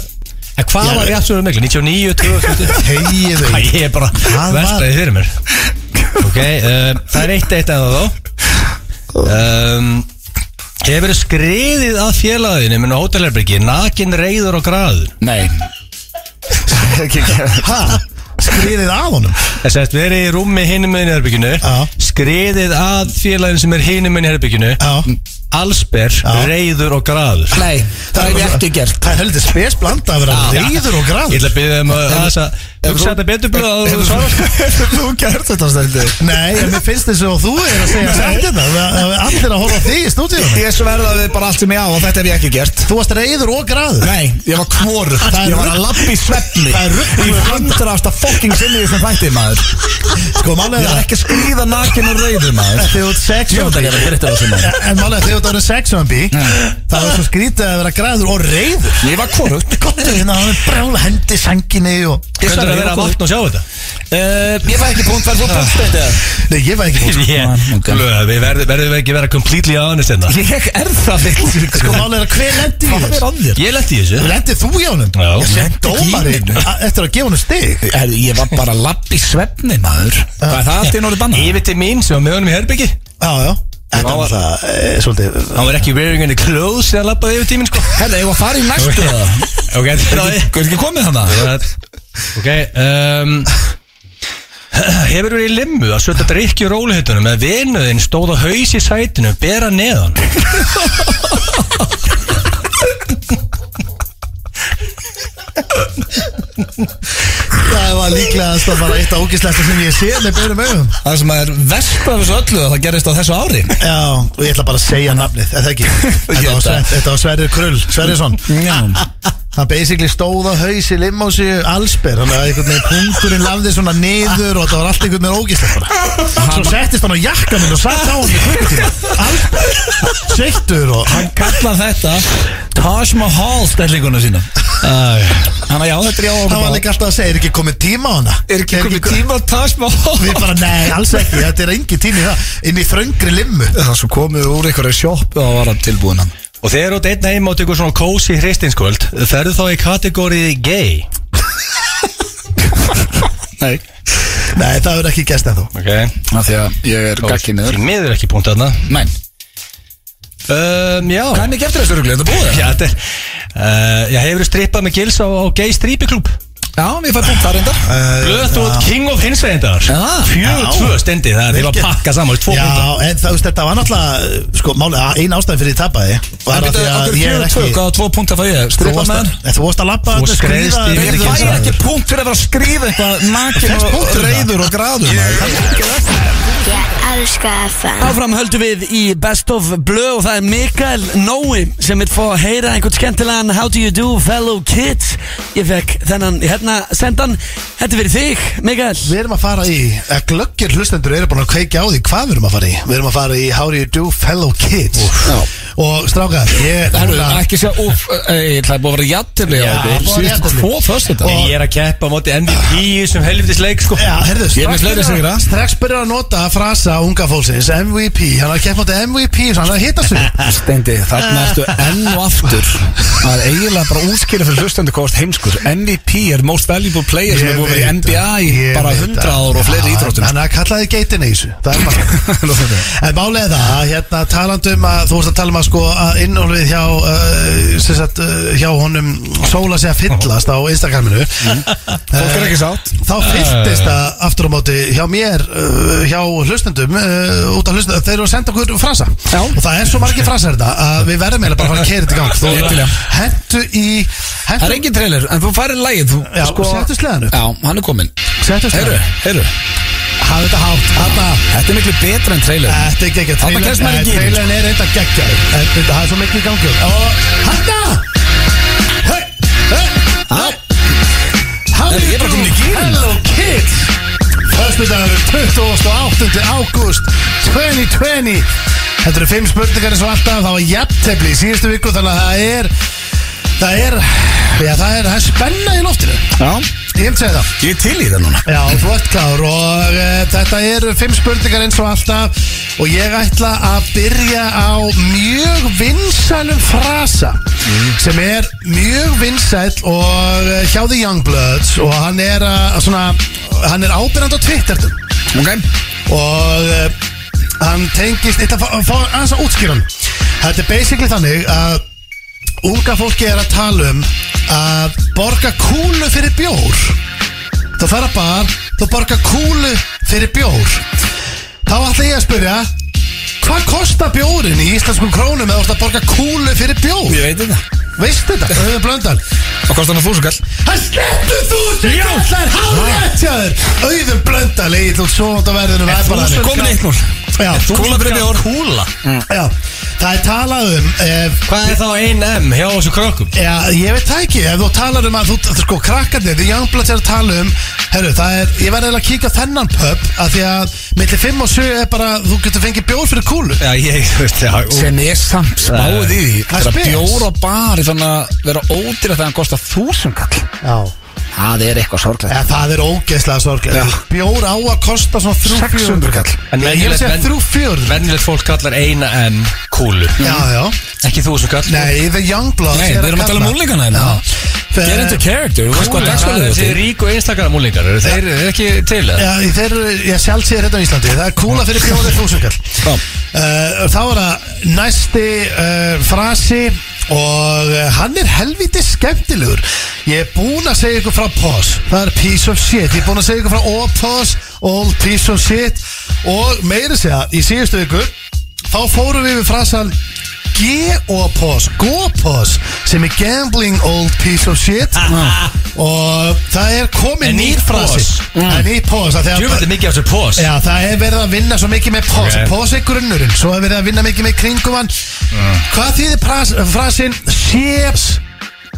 Speaker 5: En hvað
Speaker 8: Já,
Speaker 5: var um
Speaker 8: ég-
Speaker 5: jafn sumarið mikla? 99, 2000?
Speaker 8: Hegið
Speaker 5: Æ,
Speaker 8: þau
Speaker 5: ég er bara
Speaker 8: Hvað var-
Speaker 5: verstaði fyrir mér eh, Ok, um, það er eitt eitt eða þá um, Hefur skriðið að félaginu minn á hótelherbyrgi Nakin reyður og graður
Speaker 4: Nei Ekki ekki
Speaker 8: Hæ? Skriðið að honum?
Speaker 5: Þess að verið í rúmi hinum minn í herbygginu
Speaker 8: Já.
Speaker 5: Skriðið að félaginu sem er hinum minn í herbygginu
Speaker 8: Já
Speaker 5: Allsber, reyður og graður
Speaker 4: Nei, það er ekki gert
Speaker 8: Það er heldur spesblanda að vera reyður og grann
Speaker 5: Ég ætla að byrja þeim að aðeins að hugsa þetta betur blöð að þú svarar
Speaker 4: Hefur þú gert þetta stendur?
Speaker 8: Nei, en mér finnst þess að þú er að segja sagt þetta Það það er allir að horfa á þig í stúdíunum
Speaker 4: Ég sverða við bara allt sem ég á og þetta hef ég ekki gert
Speaker 8: Þú varst reyður og gráður
Speaker 4: Nei, ég var kvoru
Speaker 8: Það er
Speaker 4: Ég var að
Speaker 8: rugl-
Speaker 4: lappa í svefni
Speaker 8: Það er rugl-
Speaker 4: Í hundrasta fokking sinni sem þætti maður
Speaker 8: Sko, málega
Speaker 4: Ég er ekki að skrýða nakin og rauður maður Sjóta ekki að
Speaker 8: Þegar þú ert sexjóndi
Speaker 4: gera þessu maður
Speaker 8: En málega þegar þú ert sexjóndi Það er svo skrítið að vera gráður og reyður
Speaker 4: Ég var kvorugt
Speaker 8: Kottu hérna, hann er brjála hendi í sanginni og
Speaker 5: Hvernig er að vera að vakna og sjá þetta?
Speaker 4: Eh, Ég var ekki punkt, var þú punkt þetta?
Speaker 8: Nei, ég var ekki búinn, sko.
Speaker 5: Ég, blöð, við verðum verðum við ekki að vera completely honest hérna
Speaker 4: Ég er það vill
Speaker 8: Sko, málega hver lendi í þessu?
Speaker 5: Ég letti í þessu
Speaker 8: Lendi þú í honum?
Speaker 5: Já.
Speaker 8: Sem dómarinn, a- Eftir að gefa honum stig
Speaker 4: Herðu, ég var bara að lappa í svefni maður Hvað er það allt í norðu banna?
Speaker 5: Yfir til mín sem var með honum í herbyggi
Speaker 8: Já, já Þetta var það, svolítið
Speaker 5: Hann var ekki wearing any clothes sem hann lappaði yfir tíminn sko
Speaker 4: Herðu, ég var að fara í næstu það
Speaker 5: Ok, þetta
Speaker 4: Hvað
Speaker 5: er
Speaker 4: er ekki komið þannig?
Speaker 5: Ok, um, hefur verið í limmu að sötta drikki úr róluhittunum með vinuðinn stóð á haus í sætinu bera neðan
Speaker 8: Það var líklega að bara eitt af ógislesta sem ég sé með beinum augum
Speaker 4: Það sem er verst af þessu öllu að það gerist á þessu ári
Speaker 8: Já, og ég ætla bara að segja nafnið, eða ekki Þetta var, Sver, þetta var Sverrir Krull, Sverrisson Hann basically stóð á haus í limmósi allsber Þannig að einhvern veginn punkurinn lafði svona niður og þetta var allt einhvern veginn ógislegt bara Svo settist hann á jakka minn og satt á hann í klukkutíma Allsber, sveittur og
Speaker 4: Hann kalla þetta Taj Mahal stellinguna sína Þannig að já, þetta er já
Speaker 8: Hann var líka alltaf að segja, er ekki komið tíma á hana?
Speaker 4: Er ekki komið tíma á Taj Mahal?
Speaker 8: Við bara, nei, alls ekki, þetta er engin tími í það Inn í þröngri limmu
Speaker 4: Það svo komið úr einhverju sjopp og var hann tilbúin hann
Speaker 5: Og þegar þú deitt neyma og tekur svona cozy hristinskvöld ferðu þá í kategórið gay
Speaker 4: Nei
Speaker 8: Nei, það verður ekki gæst ennþá
Speaker 5: Ok
Speaker 4: Af því að ég er gagkinniður
Speaker 5: Því miður ekki punkt þarna
Speaker 4: Menn
Speaker 5: um, Já
Speaker 4: Hvað er mikið eftir þessu rugli? Er Þetta búið það?
Speaker 5: Já, þetta er uh, Já, hefur strippað með gils á, á gay stripiklub
Speaker 4: Já, ég fær punkt þar reyndar
Speaker 8: Eh,
Speaker 5: Blöð, þú ert king of hinsveindar
Speaker 4: Já.
Speaker 5: Fjögur tvö stendi Það er til að
Speaker 8: Virkir.
Speaker 5: pakka saman Tvó
Speaker 8: Já,
Speaker 5: punta
Speaker 8: en það, veist, þetta var náttúrulega, sko, máli, ein ástæðin fyrir ég tapaði
Speaker 4: En
Speaker 8: Var að
Speaker 4: býta,
Speaker 8: því
Speaker 4: okkur
Speaker 8: að ég er
Speaker 4: fjögur tvö,
Speaker 8: ekki
Speaker 4: hvaða tvo punta fæ ég?
Speaker 8: Þú
Speaker 4: Stripa
Speaker 8: varst
Speaker 4: með hann?
Speaker 8: að- en Þú varst að lappa
Speaker 5: Þú skreiðst
Speaker 4: Ég
Speaker 5: yfir þetta
Speaker 4: fæ
Speaker 5: gilsaður.
Speaker 4: ekki punkt fyrir að vera að skrýða eitthvað nakin
Speaker 8: Fékkst
Speaker 4: og
Speaker 8: punkt fyrir það?
Speaker 4: reyður og gráður maður.
Speaker 9: Ég elska FM
Speaker 1: Áfram höldum við í Best of Blue og það er Mikael Nói sem er fóð að heyra einhvern skemmtilegan How do you do fellow kids Ég fekk þennan hérna sendan Þetta er fyrir þig Mikael
Speaker 8: Við erum að fara í, að glöggir hlustendur eru búin að kveikja á því hvað við erum að fara í Við erum að fara í How do you do fellow kids Og strákar, ég
Speaker 4: Herru,
Speaker 8: núna-
Speaker 4: ekki eh, segja úf, ég ætlaði bara að vera jættiflega
Speaker 8: Já, bara
Speaker 4: Sýst
Speaker 8: jafntefli.
Speaker 4: tvo föstu þetta
Speaker 8: Og-
Speaker 5: Ég er að keppa á móti MVP í þessum helvitis leik sko
Speaker 8: Já, herðu,
Speaker 4: Ég er með
Speaker 8: strax
Speaker 4: fleiri
Speaker 8: byrjar-
Speaker 4: sigra.
Speaker 8: Strax byrjar að nota frasa unga fólksins MVP, hann er að keppa á þetta MVP Hann er að hitta sig
Speaker 4: Stendi, þarna ertu enn og aftur að eiginlega bara útskýra fyrir hlustandi hvað það heimskur MVP er most valuable player sem
Speaker 8: Ég
Speaker 4: er búin að vera í
Speaker 8: veit
Speaker 4: NBA
Speaker 8: það,
Speaker 4: í
Speaker 8: ég
Speaker 4: bara
Speaker 8: veit
Speaker 4: 100
Speaker 8: það.
Speaker 4: ára og fleiri
Speaker 8: Já,
Speaker 4: íþróttum
Speaker 8: Þannig að kallaði geitin í þessu Það er maður En málið er það að hérna talandum að þú vorst að tala um að sko að innólfið hjá uh, sem sagt uh, hjá honum sóla sig að fyllast á Instagraminu
Speaker 4: Mhm. Fólk er ekki sátt
Speaker 8: Þá fylltist það aftur á móti hjá mér, uh, hjá hlustendum uh, út af hlustendum, þeir eru að senda okkur frasa
Speaker 4: Já.
Speaker 8: og það er svo margir frasa þetta að við verðum eiginlega bara að fara að keira þetta í gang
Speaker 4: Ég til í
Speaker 8: Þú
Speaker 4: það.
Speaker 8: hentu í
Speaker 4: Það
Speaker 8: hentu,
Speaker 4: er engin trailer, en þú færir lægið þú, sko-
Speaker 8: Já, settu sleðan upp.
Speaker 4: Já, hann er kominn
Speaker 8: settu
Speaker 4: Heyru, heyru
Speaker 8: hafa þetta hátt, hafa
Speaker 4: Þetta er miklu betra en trailer
Speaker 8: Þetta er geggjað
Speaker 4: Þarna kemst maður í gírinn,
Speaker 8: Trailerin er eitthvað geggjað Þetta það er svo miklu í gangi Og hætta Hey, hey, hey. How
Speaker 4: Herru, ég er
Speaker 8: do you
Speaker 4: bara
Speaker 8: do?
Speaker 4: kominn í gírinn.
Speaker 8: Hello kids Föstu dagur 28. ágúst 2020 Þetta eru fimm spurningar eins og alltaf Það var jafntefli í síðustu viku Þannig að það er Það er, já, það er, það er spenna í loftinu
Speaker 4: Já
Speaker 8: Ég hef segið það
Speaker 4: Ég er til í það núna
Speaker 8: Já, þú ert klár og uh, þetta eru fimm spurningar eins og alltaf og ég ætla að byrja á mjög vinsælum frasa sem er mjög vinsæl og uh, hjá The Youngbloods og hann er uh, svona, hann er ábyrjand á Twitter
Speaker 4: Ok
Speaker 8: eh, og uh, hann tengist, þetta fá- fá aðeins að útskýra hann Þetta er basically þannig að unga fólki er að tala um að borga kúlu fyrir bjór Þú fer að bar, þú borga kúlu fyrir bjór Þá ætla ég að spyrja Hvað kostar bjórin í íslenskum krónum eða þú ert að borga kúlu fyrir bjór?
Speaker 4: Ég veit þetta
Speaker 8: Veist þetta? Það hefur blöndal
Speaker 4: Hvað kostar hann að þúsugall?
Speaker 8: Það sleppu þú sem kallar hárætt hjá þér Auður blöndal, eigið þú svo á verðinu
Speaker 4: Þúsugall Komin eitt múl
Speaker 8: Já,
Speaker 4: Kúla fyrir bjór.
Speaker 6: Kúla
Speaker 8: já Það er talað um ef,
Speaker 5: Hvað er þá 1M hjá þessu krökkum?
Speaker 8: Já, ég veit það ekki, ef þú talar um að þú, þú sko, krakkarnir, því Youngbloods er að tala um herru, það er, ég verði eiginlega að kíka á þennan pub, að því að milli 5 og 7 er bara, þú getur fengið bjór fyrir kúlu
Speaker 5: Já, ég, þú veist, já ú.
Speaker 4: Sem er samt spáð í því
Speaker 8: Það er
Speaker 4: Þegar
Speaker 8: spes.
Speaker 4: bjór á bar er þannig að vera ódýra þegar hann kostar þúsungall
Speaker 8: Já,
Speaker 4: Það er eitthvað sorglega
Speaker 8: ja, það er ógeðslega sorglega Bjór á að kosta svona 300
Speaker 4: 600 kall
Speaker 5: En
Speaker 8: Ég vil
Speaker 5: venjulegt-
Speaker 8: segja
Speaker 5: ven-
Speaker 8: 300
Speaker 5: Venjulegt fólk kallar 1M kúlu
Speaker 8: Já, já,
Speaker 5: Ekki þú sem kallar
Speaker 8: nei, The Youngbloods
Speaker 4: Nei,
Speaker 8: er
Speaker 4: við erum að tala um múlingana hérna. Get into character, þú veist hvað
Speaker 5: Það
Speaker 4: dagskólið
Speaker 5: er
Speaker 4: er
Speaker 5: þessi
Speaker 4: þetta
Speaker 5: rík og einstakara múlingar eru Þeir eru ekki til það
Speaker 8: Já, í þeir, ég sjálf sér hérna á Íslandi Það er kúla fyrir bjóðið þúsungall
Speaker 4: Já.
Speaker 8: uh, Þá er það næsti uh, frasi Og uh, hann er helviti skemmtilegur Ég er búinn að segja ykkur frá POS Það er piece of shit Ég er búinn að segja ykkur frá all POS All piece of shit Og meira segja, í síðustu viku Þá fórum við við frasan G-O-POS, G-O-POS sem er gambling old piece of shit og það er komið
Speaker 5: En
Speaker 8: nýr
Speaker 5: nýr
Speaker 8: frasi
Speaker 5: pos.
Speaker 8: en í POS að þegar-
Speaker 5: Djúvöld er mikið af þessu pós
Speaker 8: Já, það hefur verið að vinna svo mikið með POS
Speaker 5: Ok.
Speaker 8: POS er grunnurinn, svo hefur verið að vinna mikið með kringum hann Hvað þýðir pras- frasin Ships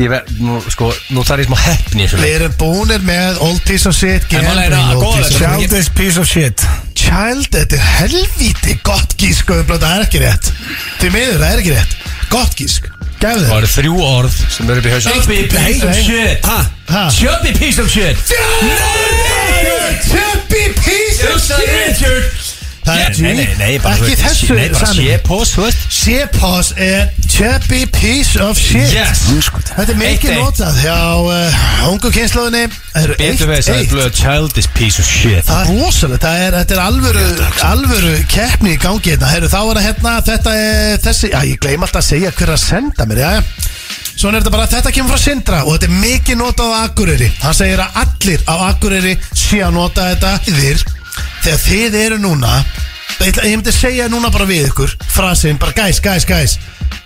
Speaker 5: Ég verð, nú, sko, nú þarf ég smá heppni í þessu
Speaker 8: Við erum búinir með Old Piece of Shit
Speaker 5: En málega er
Speaker 8: gambling,
Speaker 5: að
Speaker 8: old
Speaker 5: góða
Speaker 8: piece of
Speaker 5: þetta.
Speaker 8: shit.
Speaker 4: this piece of shit
Speaker 8: Child, þetta er helvíti gott gísk og það er ekki rétt Því miður, það er ekki rétt Gott gísk, gefðu
Speaker 5: Það
Speaker 8: þér
Speaker 5: eru þrjú orð sem eru upp í hausnum Chubby
Speaker 8: piece of
Speaker 5: shit
Speaker 8: Ha?
Speaker 5: Chubby piece of shit
Speaker 8: Chubby piece of shit
Speaker 5: Richard
Speaker 8: Það er-
Speaker 5: Nei, nei, nei, bara
Speaker 8: Ekki
Speaker 5: þú veist,
Speaker 8: þessu
Speaker 5: Nei, bara
Speaker 8: samhengi.
Speaker 5: sé pós, þú veist
Speaker 8: Sepos er chubby piece of shit
Speaker 5: Yes sko,
Speaker 8: Þetta er
Speaker 5: Eitt,
Speaker 8: mikið
Speaker 5: eitt.
Speaker 8: notað hjá uh, ungu kynnslóðinni Það eru
Speaker 5: Betur veist, það er
Speaker 8: eitt, eitt
Speaker 5: blöð childish piece of shit
Speaker 8: Það er rosalega, það er, þetta er alvöru, alvöru keppni í gangi hérna Heru, Þá er það hérna, þetta er þessi Já, ég gleym alltaf að segja hver er að senda mér, já, Svona er þetta bara, þetta kemur frá Sindra og þetta er mikið notað á Akureyri Hann segir að allir á Akureyri sé að nota þetta Þýðir, þegar þið eru núna Ég, ætla- ég myndi segja núna bara við ykkur Frasinn, bara gæs, gæs, gæs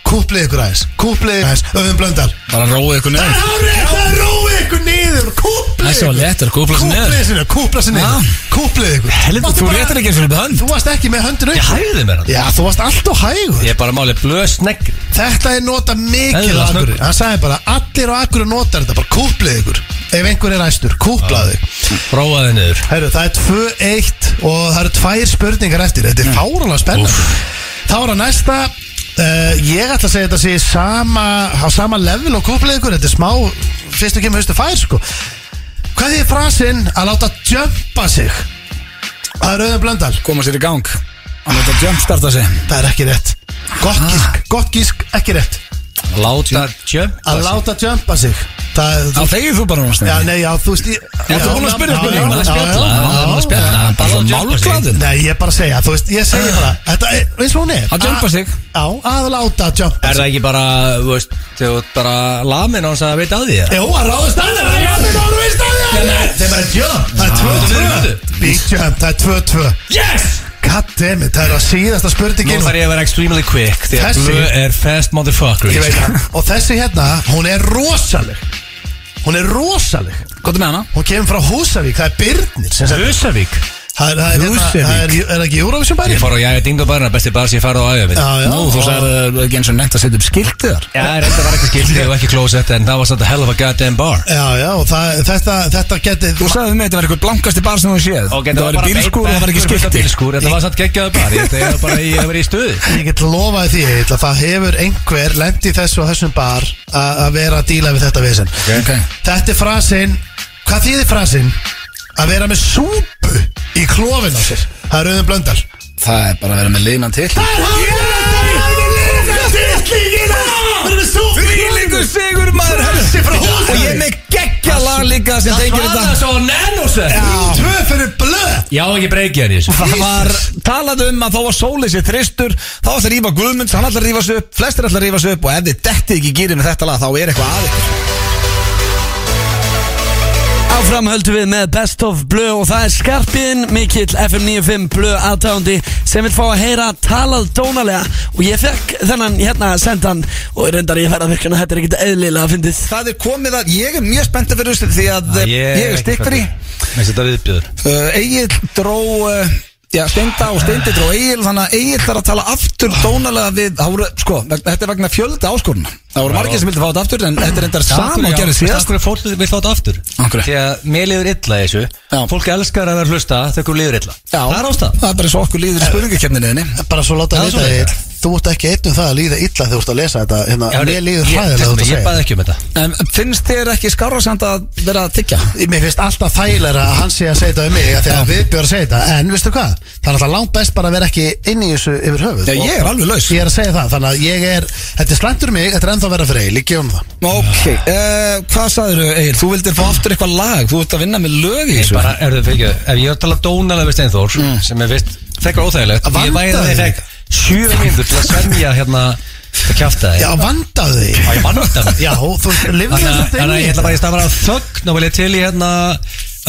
Speaker 8: Kúplið ykkur aðeins, kúplið ykkur aðeins Öfum blöndal
Speaker 4: Bara róið ykkur
Speaker 8: Það
Speaker 4: niður
Speaker 8: er hárið, það er róið ykkur niður Kúplið
Speaker 4: Það er svo léttur, kúplið sig niður.
Speaker 8: Kúplið sér niður, kúplið sér
Speaker 4: Já.
Speaker 8: niður Kúplið ykkur
Speaker 4: Helvita,
Speaker 8: Máttu
Speaker 4: þú
Speaker 8: bara-
Speaker 4: réttir ekki eins og við hönd
Speaker 8: Þú varst ekki með höndin
Speaker 5: Ég
Speaker 8: upp
Speaker 5: hæði mér hann
Speaker 8: Já, þú varst allt og hægur
Speaker 5: Ég er bara málið blöð snegg
Speaker 8: Þetta er nota mikið
Speaker 5: Eðlilega
Speaker 8: á Akureyri
Speaker 5: snöggur.
Speaker 8: Hann sagði bara, allir á Akureyri notar þetta Bara kúplið ykkur Ef einhver er æstur, kúplaðu þig
Speaker 5: Róaði niður
Speaker 8: Herru, það er 2-1 og það eru tvær spurningar eftir Þetta er mm. fárulega spennandi Þá er að næsta uh, Ég ætla að segja þetta sé sama, á sama level og kúplið ykkur Þetta er smá, fyrstu kemur haustu fær sko Hvað þýðir frasinn að láta jumpa sig? Það er auðvitað blöndal
Speaker 4: Koma sér í gang Hann veit að jumpstarta sig
Speaker 8: Það er ekki rétt Gott gísk, gott gísk, ekki rétt
Speaker 5: Láta jump
Speaker 8: Að láta jumpa sig Það
Speaker 4: Þá þegir þú bara hún
Speaker 8: Já,
Speaker 4: snið
Speaker 8: nei, já, þú veist ég-
Speaker 4: Þú
Speaker 8: Já,
Speaker 4: ert búin að
Speaker 8: já,
Speaker 4: spyrja spurninguna
Speaker 8: já,
Speaker 4: að spjalla,
Speaker 8: já, já,
Speaker 4: hann er að spjalla, hann er bara
Speaker 5: Já, já.
Speaker 4: málglaðin
Speaker 8: Nei, ég er bara að segja, þú veist, ég segi bara Þetta er, eins og hún er
Speaker 4: Að jumpa sig.
Speaker 8: Já, að láta að jumpa
Speaker 5: Er það ekki bara, þú veist, þú ert bara lamin á hans að veit að því það?
Speaker 8: Jú, að ráðast að það, já, það ráðast að það Það er bara jump, það
Speaker 5: Ah.
Speaker 8: er 2-2 Big jump, það er 2-2
Speaker 5: Yes!
Speaker 8: Goddammit, það er á síðasta
Speaker 5: Nú
Speaker 8: spurningin
Speaker 5: þarf ég að vera extremely quick Því að
Speaker 8: Þessi-
Speaker 5: blöð er fast motherfucker
Speaker 8: Ég veit það Og þessi hérna, hún er rosaleg Hún er rosaleg
Speaker 4: Góttu með hana
Speaker 8: Hún kemur frá Húsavík, það er Byrnir sem sagt.
Speaker 5: Húsavík
Speaker 8: Það er, það er, hérna-
Speaker 5: Húsavík.
Speaker 8: það er, er það ekki Eurovision bæri?
Speaker 5: Ég fór á jæja dingdu barna, besti bar sem ég farið á æfum
Speaker 8: Já, já
Speaker 4: Nú, þú
Speaker 8: og-
Speaker 4: sagði ekki eins og nefnt að setja upp skiltið þar
Speaker 5: Já, reynda var ekki skildið og ekki klósett En það var samt að hell of a goddamn bar
Speaker 8: Já, já, og það, þetta, þetta geti
Speaker 4: Þú sagði við mig að þetta var eitthvað blankasti bar sem þú séð
Speaker 5: Ok,
Speaker 4: Það var í bílskúr og það var ekki skilti
Speaker 5: Bílskúr, þetta var samt geggjaðu bar Ég þetta var bara í, ég var í stuði
Speaker 8: Ég get lofaði því Egill, að það hefur einhver lendi þessu og þessum bar að að vera að díla við þetta vesen
Speaker 4: Ok.
Speaker 8: Þetta er frasin Hvað þýðir frasin? Að vera með súpu í klófin á sér Það er auðvitað blöndal
Speaker 4: Það er bara að vera með linan til Fýlingu sigur maður
Speaker 8: Þessi frá Húsavík.
Speaker 4: Og ég er með geggja lag líka sem tengir þetta
Speaker 5: svo nennu sér
Speaker 8: Tvö fyrir blöð
Speaker 5: Ég á ekki breykið hann í þessu
Speaker 4: Það var talað um að þá var sólið sér þristur Þá ætlar að rífa Guðmunds, hann ætlar að rífa sig upp Flestir ætlar að rífa sig upp og ef þið dettið ekki í gýrið með þetta lag þá er eitthvað aðeins
Speaker 1: Áfram höldum við með Best of Blö og það er skarpiðin mikill FM95 Blö aðtándi sem vil fá að heyra talað dónalega og ég fekk þennan hérna sendan og reyndar ég færða virkana þetta er ekkert eðlilega að fyndið
Speaker 4: Það er komið að, ég er mjög spenntið fyrir þessu því að eh, ég er stikkfri
Speaker 5: Mér setja viðbjöður
Speaker 4: uh, Egil dró uh, Já, Steinda og Steindi dró Egil Þannig að Egil þarf að tala aftur dónalega við Það voru, sko, veg- þetta er vegna fjölda áskoruna Það voru margir sem vildi fá þetta aftur En þetta er enda sama og gerði síðast
Speaker 5: Akkur er fólk vil fá þetta aftur
Speaker 4: Af hverju?
Speaker 5: Því að mér liður illa í þessu
Speaker 4: Já.
Speaker 5: Fólk elskar að vera að hlusta þegar okkur liður illa
Speaker 4: Já,
Speaker 5: Það er ástæð
Speaker 4: Það er Eh. bara svo okkur líður í spurningakefninni
Speaker 8: Bara svo láta
Speaker 5: Það er
Speaker 8: að vita
Speaker 5: svoleiðis,
Speaker 8: þig Þú ert ekki einn um það að líða illa þegar þú ert að lesa þetta hérna, Mér líður hræðilega þú ert að
Speaker 5: Ég
Speaker 8: segja
Speaker 5: baði ekki um þetta
Speaker 4: En finnst þér ekki skára samt að vera að tyggja?
Speaker 8: Mér finnst alltaf þægilega að hann sé að segja þetta um mig af því að við björn að segja þetta En veistu hvað? Það er alltaf langt best bara að vera ekki inn í þessu yfir höfuð
Speaker 4: Já, ég er alveg laus.
Speaker 8: Ég er að segja það Þannig að ég er Þetta er slæmt um mig Þetta er ennþá verið fyrir Eil Ég gefum það
Speaker 4: Ok, uh, hvað sagður þau Egil? Þú vildir fá aftur eitthvað lag, þú ert að vinna með lög í
Speaker 5: Ég
Speaker 4: þessu
Speaker 5: bara, er þau fyrir Ef ég er að tala dónalega við Steinþór sem er vist þekkar óþægilegt
Speaker 8: Mm. Að
Speaker 5: Ég væri
Speaker 8: vanda
Speaker 5: að þeir fekk
Speaker 8: þig.
Speaker 5: sjö mínútur til að semja hérna að kjafta
Speaker 8: Já,
Speaker 5: þig
Speaker 8: vandaðu þig
Speaker 5: Já, ég vanda mig.
Speaker 8: Já, þú lifðu
Speaker 5: Þannig
Speaker 8: þessu
Speaker 5: að- þannig að ég ætla bara að stafa á þögn og vilja til í hérna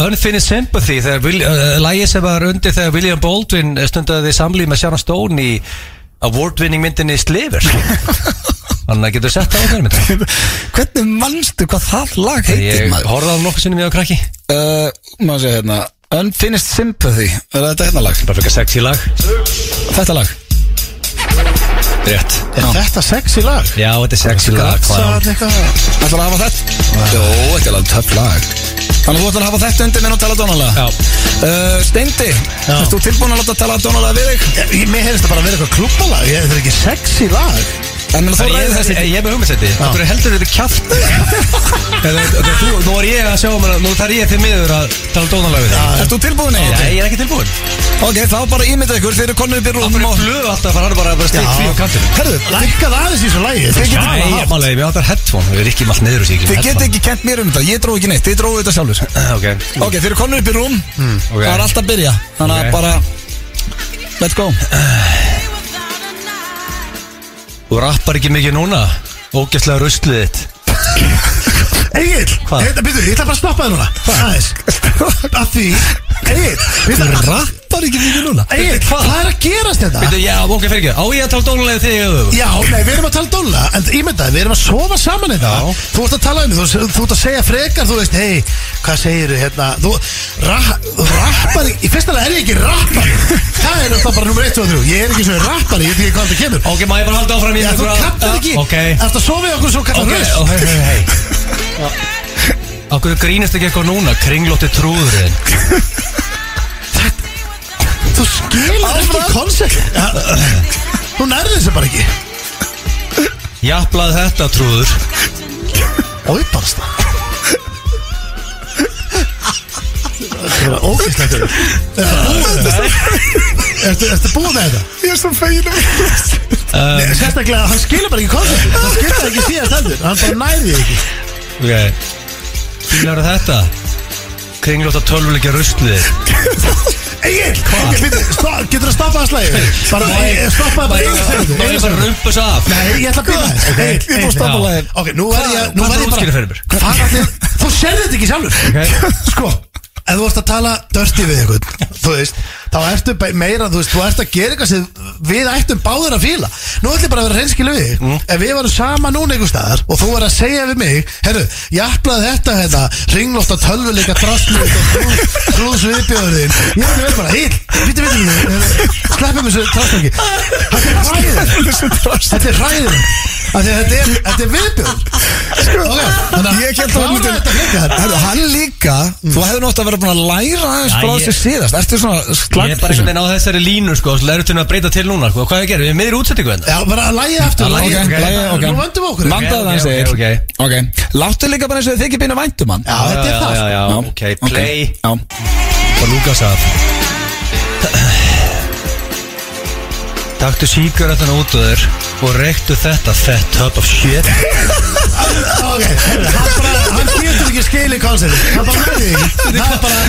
Speaker 5: Unfinished Sympathy þegar Will- uh, lagið sem var undir þegar William Baldwin eh, stundaði samlíf með Sharon Stone í award-winning myndinni Sliver Þannig að getur sett það á hverjum þetta
Speaker 4: Hvernig mannstu hvað það lag heitir
Speaker 5: Ég
Speaker 4: maður?
Speaker 5: horfði á hann nokkuð sinnum ég á krakki
Speaker 4: Uh, maður sé hérna Unfinished Sympathy, er þetta hérna lag?
Speaker 5: Bara fyrir sexy lag
Speaker 4: Þetta lag
Speaker 5: Rétt
Speaker 8: Er þetta sexy lag?
Speaker 5: Já, þetta er sexy lag
Speaker 8: Það
Speaker 5: clown.
Speaker 8: er eitthvað
Speaker 4: Ætlar að hafa þetta? Jó, þetta er alveg töff lag Þannig að þú ætlar að hafa þetta undir minn og tala dónalega
Speaker 5: Já,
Speaker 4: uh, Steindi,
Speaker 8: Já.
Speaker 4: erst þú tilbúin að láta tala dónalega við þig?
Speaker 8: Ég- ég- Mér heyrðist það bara að vera eitthvað klúbalag Ég- Þetta er ekki sexy lag
Speaker 4: En meina, þú
Speaker 5: Ég
Speaker 4: ræðir
Speaker 5: ég-
Speaker 4: þessi
Speaker 5: ég er með hugmyndsætti Þú er heldur þetta kjátt Nú er ég að sjá mér að Nú þarf ég til miður að tala dónalega við þig
Speaker 4: Erst þú tilbúin
Speaker 5: Já,
Speaker 4: Egil?
Speaker 5: ég er ekki tilbúin
Speaker 4: Ok, þá bara ímynda ykkur, þeir eru konur upp í
Speaker 5: Það
Speaker 4: rúðum
Speaker 5: fyrir blöð alltaf að fara bara að stikk frí á kantinu
Speaker 8: Herðu, lækkað aðeins í þessu lagi Þið getur bara haft
Speaker 5: Málega, ég áttar headphone Við erum ekki allt niður úr sig
Speaker 4: Þið geti ekki kent mér um þetta, ég dróði ekki neitt, þið dróðu þetta sjálfur
Speaker 5: Eh, Ok Hmm,
Speaker 4: Ok, þið eru konur upp í rúm,
Speaker 5: ok.
Speaker 4: það er alltaf að byrja Þannig
Speaker 5: Ok.
Speaker 4: að bara, let's go
Speaker 5: Þú rappar ekki mikið núna Ógæstlega ruslið þitt
Speaker 8: Egil,
Speaker 5: Hvað?
Speaker 8: þetta byrju, ég ætla bara að stoppa það núna Aðeins Af því Egil, við það
Speaker 4: Rappar ekki mikið núna
Speaker 8: Egil,
Speaker 5: Hvað?
Speaker 8: hvað er að gerast hérna? þetta?
Speaker 5: Veitu, já, ok, fyrir ekki Á ég að tala dónalega þig eða þú
Speaker 8: Já, nei, við erum að tala dóla En ímyndaði, við erum að sofa saman þetta
Speaker 5: Já.
Speaker 8: Þú ert að tala um þetta, þú, þú ert að segja frekar Þú veist, hei, hvað segirðu hérna Þú ra, rappari Í fyrsta lega er ég ekki rappari Það er þetta bara nummer 1 og 3 Ég er ekki svo rappari, ég veit ekki hvað þetta kemur
Speaker 5: Ok, má ég bara halda áfram í
Speaker 8: Já, þú
Speaker 5: einhverja-
Speaker 8: kallar ekki
Speaker 5: Ok
Speaker 8: Eftir að sofa í okkur svo kallar
Speaker 5: Ok,
Speaker 8: okay.
Speaker 5: oh, hei, hei, hei Akkur grínast ekki eitthvað núna Kringlótti trúðurinn
Speaker 8: Þú skilur ekki konsept Ja, Þú nærði þessu bara ekki
Speaker 5: Japlað þetta trúður
Speaker 8: Og ég barst það Það er ógæstlegt Ertu ertu búin með þetta?
Speaker 4: Ég er svo fegin um
Speaker 8: Nei, Sérstaklega, hann skilur bara ekki konceptið Hann skilur það ekki síðast heldur Hann bara næði því ekki
Speaker 5: Ok Fílar þetta Kringlótta tölvuleikja ruslið
Speaker 8: Egil, getur að stoppa það slæði? Bara, eh, stoppa það bara einu
Speaker 5: Nú er
Speaker 8: sekundu,
Speaker 5: ég bara að
Speaker 8: einu sekundu.
Speaker 5: rumpa svo af
Speaker 8: Nei, ég ætla að byrja þess Egil, ég búið að stoppa það Ok, nú verð ég nú
Speaker 5: Hvað er
Speaker 8: verð ég
Speaker 5: útskýrið
Speaker 8: bara
Speaker 5: fyrir mér?
Speaker 8: Hvað allir, þú serði þetta ekki sjálfur
Speaker 5: Ok.
Speaker 8: Sko, ef þú ert að tala dörti við einhvern Þú veist, þá ertu be- meira Þú veist, þú ert að gera eitthvað sem við ættum báður að fíla Nú ætlum ég bara að vera reynskilu við þig. Ef við varum sama núna einhver staðar Og þú var að segja við mig Herru, jafnlaði þetta hérna Ringlótt að tölvuleika drastlut Og trúðsviðbjörðin Ég ætlum við bara, heil, viti, viti, viti Sleppum þessu drastluki Þetta er hræðin Þetta er hræðin Þetta er, þetta er viðbjörn Ok, þannig að
Speaker 4: Ég kent að
Speaker 8: klára
Speaker 4: myndi
Speaker 8: þetta frekar.
Speaker 4: Herru, hann líka, þú hefði nátt að vera búin að læra aðeins
Speaker 5: Já,
Speaker 4: frá
Speaker 5: ég-
Speaker 4: þessu síðast Ertu svona
Speaker 5: Ég er bara
Speaker 4: slagt
Speaker 5: einhvern veginn á þessari línu sko Svo læru til að breyta til núna sko. Hvað er að gera? Við erum miður útsettingu hérna
Speaker 8: Já, bara að lægja aftur
Speaker 5: Já,
Speaker 8: Lægja,
Speaker 5: ok,
Speaker 8: ok,
Speaker 5: lagið, sko.
Speaker 4: ok.
Speaker 8: Nú vöndum við okkur
Speaker 4: Mandaði
Speaker 5: Ok,
Speaker 4: hann
Speaker 5: ok,
Speaker 4: segir
Speaker 5: ok,
Speaker 4: Ok, láttu líka bara eins og þið ekki býna væntum um hann
Speaker 8: Já, þetta er það sko.
Speaker 5: Já, já,
Speaker 4: Já,
Speaker 5: ok, play
Speaker 4: Já,
Speaker 5: Og Lukas af Taktu síkaretan út úr þér og reyktu þetta fett top of shit
Speaker 8: Ok, heyrðu, hann bara, hann getur ekki skilið konsertið Hann bara nefnir því Það er bara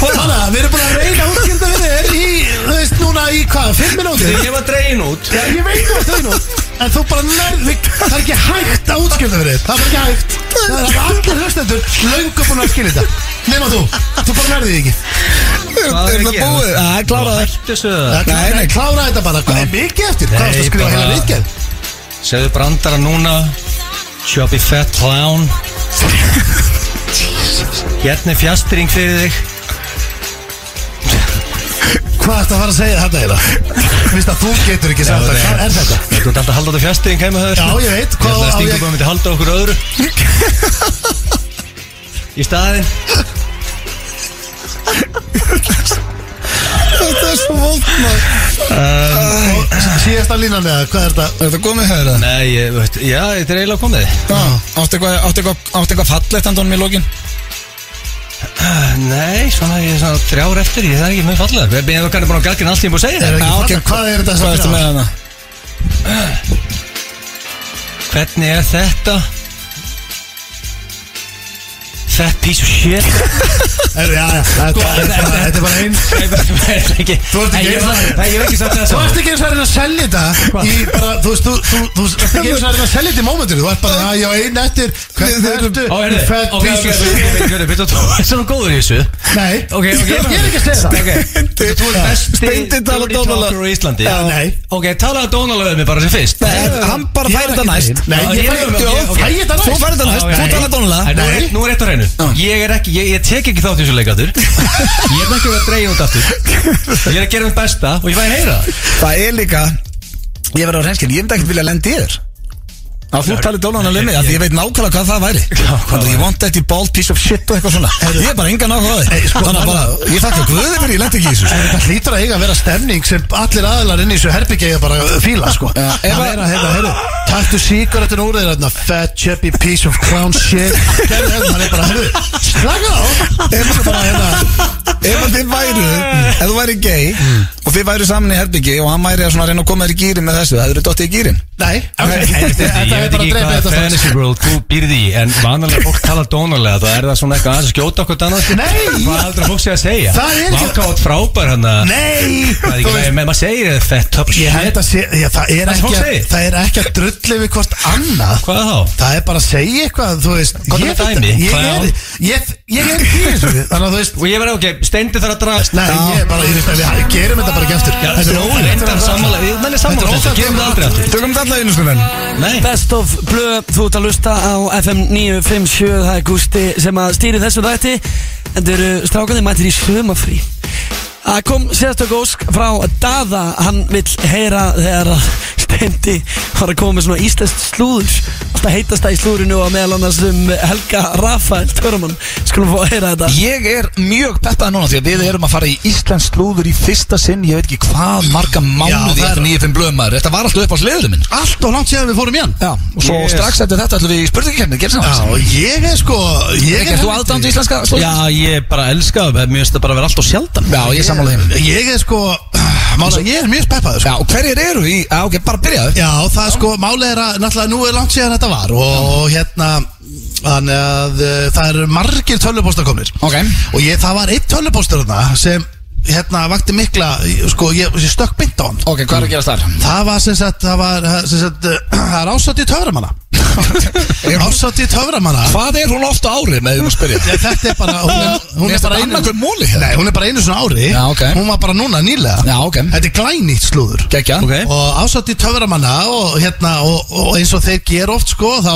Speaker 8: Hanna, við erum búin að reyna útskjönda við þér í, þú veist, núna í hvað, fimm minúti
Speaker 5: Þegar ég var dregin út
Speaker 8: Já, ég veit það þau nú En þú bara nefnir, það er ekki hægt að útskjönda við þér Það er bara ekki hægt Það er bara allir hlustendur löngu búin að skilja þetta Nefna þú, þú bara nærðið því ekki
Speaker 5: Hvað er
Speaker 8: Hérna
Speaker 4: Erum
Speaker 5: að
Speaker 4: við
Speaker 5: gera?
Speaker 4: búið? Það er klárað þær
Speaker 5: Hættu þessu það
Speaker 8: Nei, nei, klára þetta bara, hvað er mikið eftir? Hvað er
Speaker 5: Nei,
Speaker 8: að skrifa hérna
Speaker 5: bara-
Speaker 8: heila rítkjæð?
Speaker 5: Segðu brandara núna Chubby fat clown Hérna er fjastring fyrir þig
Speaker 8: Hvað ertu að fara að segja þetta heila? Vist að þú getur ekki sagt það, hvað er þetta?
Speaker 5: Þú ert alltaf að halda þetta fjastring heima höfður
Speaker 8: Já, ég veit,
Speaker 5: Ég
Speaker 8: hvað
Speaker 5: ætla að
Speaker 8: á
Speaker 5: stinga
Speaker 8: ég-
Speaker 5: bara myndi halda okkur öðru Í staðinn
Speaker 4: Þetta er svo vond maður
Speaker 8: Um, Og síðasta línan eða, hvað er þetta?
Speaker 4: Er þetta komið hefur það?
Speaker 5: Nei, ég veit, já, þetta er eiginlega komið
Speaker 4: Áttu eitthvað, áttu eitthvað, áttu eitthvað fallegt andunum í lókin?
Speaker 5: Nei, svona, ég er svona þrjár eftir, ég það er ekki mjög fallega Við erum kannski búin að galgin allt sem ég er búin að segja
Speaker 8: Er
Speaker 5: þér
Speaker 8: ekki
Speaker 4: Já,
Speaker 8: fallegt?
Speaker 4: ok.
Speaker 8: Hvað er þetta
Speaker 4: Hvað
Speaker 8: sem
Speaker 4: ertu með hérna? hana?
Speaker 5: Hvernig er þetta? Fat piece of shit
Speaker 8: Er, já, já, þetta
Speaker 5: Hvað er
Speaker 8: þetta-
Speaker 5: þetta?
Speaker 8: þetta er bara einn
Speaker 5: Nei, ég veit ekki
Speaker 8: Þú ert ekki
Speaker 5: Nei, ég
Speaker 8: eins og-
Speaker 5: var- Nei, ég veit ekki samt það
Speaker 8: Þú
Speaker 5: saman
Speaker 8: ert ekki eins og að reyna að selja þetta í bara, þú veist, þú, þú, þú þú ert ekki eins og að reyna að selja þetta í mómentinu Þú ert bara, já, já, einn eftir, hvernig ertu,
Speaker 5: Ó, heyrðu,
Speaker 8: fett
Speaker 5: ok, ok,
Speaker 8: piece of shit
Speaker 5: ok, ok, ok, þú er svona góður í þessu
Speaker 8: Nei,
Speaker 5: Ok, ok,
Speaker 8: ég er ekki að segja það
Speaker 5: það Þú er besti
Speaker 4: Steindi talar
Speaker 5: dirty
Speaker 4: dónalega.
Speaker 5: talker á Íslandi
Speaker 8: Já, nei.
Speaker 5: Ok, talaðu dónalega um mig bara sem fyrst
Speaker 4: Nei, Eh, hann bara
Speaker 8: Ég er
Speaker 4: fær þetta
Speaker 8: ekki
Speaker 4: næst
Speaker 8: til. Nei,
Speaker 5: Já, ég
Speaker 8: ég fæ
Speaker 5: er-
Speaker 8: þetta
Speaker 5: ok, ok.
Speaker 8: Fæ ég þetta
Speaker 4: Þú
Speaker 8: næst
Speaker 4: færði þetta næst,
Speaker 5: Já, já,
Speaker 4: þú
Speaker 5: já,
Speaker 4: talar
Speaker 5: já.
Speaker 4: dónulega
Speaker 5: Nei, Nú er- nú er rétt á reynu Ég er ekki, ég, ég tek ekki þátt í þessu leikatur Ég er ekki að vera að dreyja út aftur Ég er að gera mitt besta og ég fæ að heyra það.
Speaker 4: Það er líka Ég verður á reynskil, ég myndi ekkert vilja lendi í þér Að þú talir dónulega um mig af Því ég veit nákvæmlega hvað það væri Þannig að ég want that you bald piece of shit og eitthvað svona Ég er bara engan áhuga á því
Speaker 5: sko,
Speaker 4: Þannig að bara, ég þakka guði fyrir ég lendi ekki í þessu sko.
Speaker 8: En þetta hlýtur að eiga að vera stemning sem allir aðlar inn í þessu herbyggi eiga bara að fíla sko
Speaker 4: Já, ef
Speaker 8: Það
Speaker 4: að-
Speaker 8: er að, heyrðu, heyrðu, taktu sígarettin úr þér þarna Fat, chubby, piece of clown shit Gerðu þetta, hann er bara, heyrðu, slaka á Ef þú bara, hérna,
Speaker 4: Ef að þið væru, ef þú væri gay Og þið væru saman í herbyggi Og hann væri að svona reyna að koma þér í gýrin með þessu Það eru dottið í gýrin
Speaker 8: nei, ok,
Speaker 5: Ég
Speaker 8: þetta
Speaker 5: veit
Speaker 8: er bara að
Speaker 5: ekki
Speaker 8: dreipa
Speaker 5: hvað
Speaker 8: þetta strax
Speaker 5: fantasy world þú býrði í En vanalega fólk tala dónalega Það er það svona eitthvað aðeins að skjóta okkur annað
Speaker 8: Nei.
Speaker 5: Hvað heldur að fólk sé að segja
Speaker 8: Það er ekki-
Speaker 5: Vákátt frábær hann að
Speaker 8: Nei,
Speaker 5: Það er ekki
Speaker 8: veist,
Speaker 5: með, maður segir þetta fett top
Speaker 8: Ég held að sé, ég, það, er
Speaker 5: Það sem
Speaker 8: ekki,
Speaker 5: fólk segir.
Speaker 8: það er ekki að drulli við hvort annað
Speaker 5: Hvað þá?
Speaker 8: Það er bara að segja eitthvað, þú veist
Speaker 5: Hvað er
Speaker 8: ég,
Speaker 5: með
Speaker 8: veit-
Speaker 5: dæmi?
Speaker 8: Ég
Speaker 5: Clown?
Speaker 8: er, ég, ég er í þessu Þannig að þú veist
Speaker 5: Og ég verði ok, steindi þarf að draga
Speaker 8: Nei, ég er bara, ég veist, við gerum þetta bara ekki aftur
Speaker 5: Já,
Speaker 8: Þetta er ólega
Speaker 5: Reyndar sammála, ég menn er sammála þessu, gerum það aldrei aftur
Speaker 4: Tökum þetta allavega einu sko menn
Speaker 5: Nei,
Speaker 1: Best of Blö, þú ert að lusta á FM 957, það er Gusti sem að stýri þessu þætti En þau eru strákandi mættir í sömafrí Það kom sérstök ósk frá Dada, hann vill heyra þegar að Steindi var að koma með svona íslenskt slúður Alltaf heitast það í slúðurinu og meðal annars um Helga Rafael Törumann Skulum fá að heyra þetta
Speaker 4: Ég er mjög peppað núna því að við erum að fara í Íslands slúður í fyrsta sinn Ég veit ekki hvað marga mánuði
Speaker 8: það er-
Speaker 4: eftir 95 blöðmaður Þetta var alltaf upp á sliðinu minn
Speaker 8: Allt og langt séðan við fórum í hann
Speaker 4: Já, og svo
Speaker 5: Yes.
Speaker 4: strax eftir þetta ætlum við í spurningakefni Gerðu sem
Speaker 8: Já,
Speaker 4: það
Speaker 8: og ég er sko Ég
Speaker 4: Erst þú aðdándu íslenska slúður?
Speaker 5: já, ég bara elska það, mér finnst það bara að vera alltaf sjaldan
Speaker 4: sko. Já, ég sammála þeim
Speaker 8: Ég er sko Mála, ég er mjög speppaður sko
Speaker 4: Já, og hverjir eru í, já ok, bara byrjaðu
Speaker 8: Já, það er sko, málið er að náttúrulega nú er langt síðan þetta var og, og hérna, þannig að uh, það eru margir tölvupóstar komnir
Speaker 4: Ok.
Speaker 8: og ég, það var eitt tölvupóstar þarna sem hérna vakti mikla, sko, ég, ég stökk beint á hann
Speaker 4: Ok, hvað er að gerast þar?
Speaker 8: Það var sem sagt, það var sem sagt, uh, það er ásatt í töframanna Ásatt í töframanna
Speaker 4: Hvað er hún oft á ári með því að spyrja?
Speaker 8: Nei, Þetta er bara, hún er,
Speaker 4: Mér
Speaker 8: hún er
Speaker 4: finnst
Speaker 8: bara
Speaker 4: þetta
Speaker 8: einu
Speaker 4: annað hver móli hérna.
Speaker 8: Nei, hún er bara einu svona ári
Speaker 4: Já, ok.
Speaker 8: Hún var bara núna nýlega
Speaker 4: Já, ok.
Speaker 8: Þetta er glænýtt slúður
Speaker 4: Gekkja
Speaker 5: Ok.
Speaker 8: Og ásatt í töframanna og, hérna, og, og eins og þeir ger oft sko Þá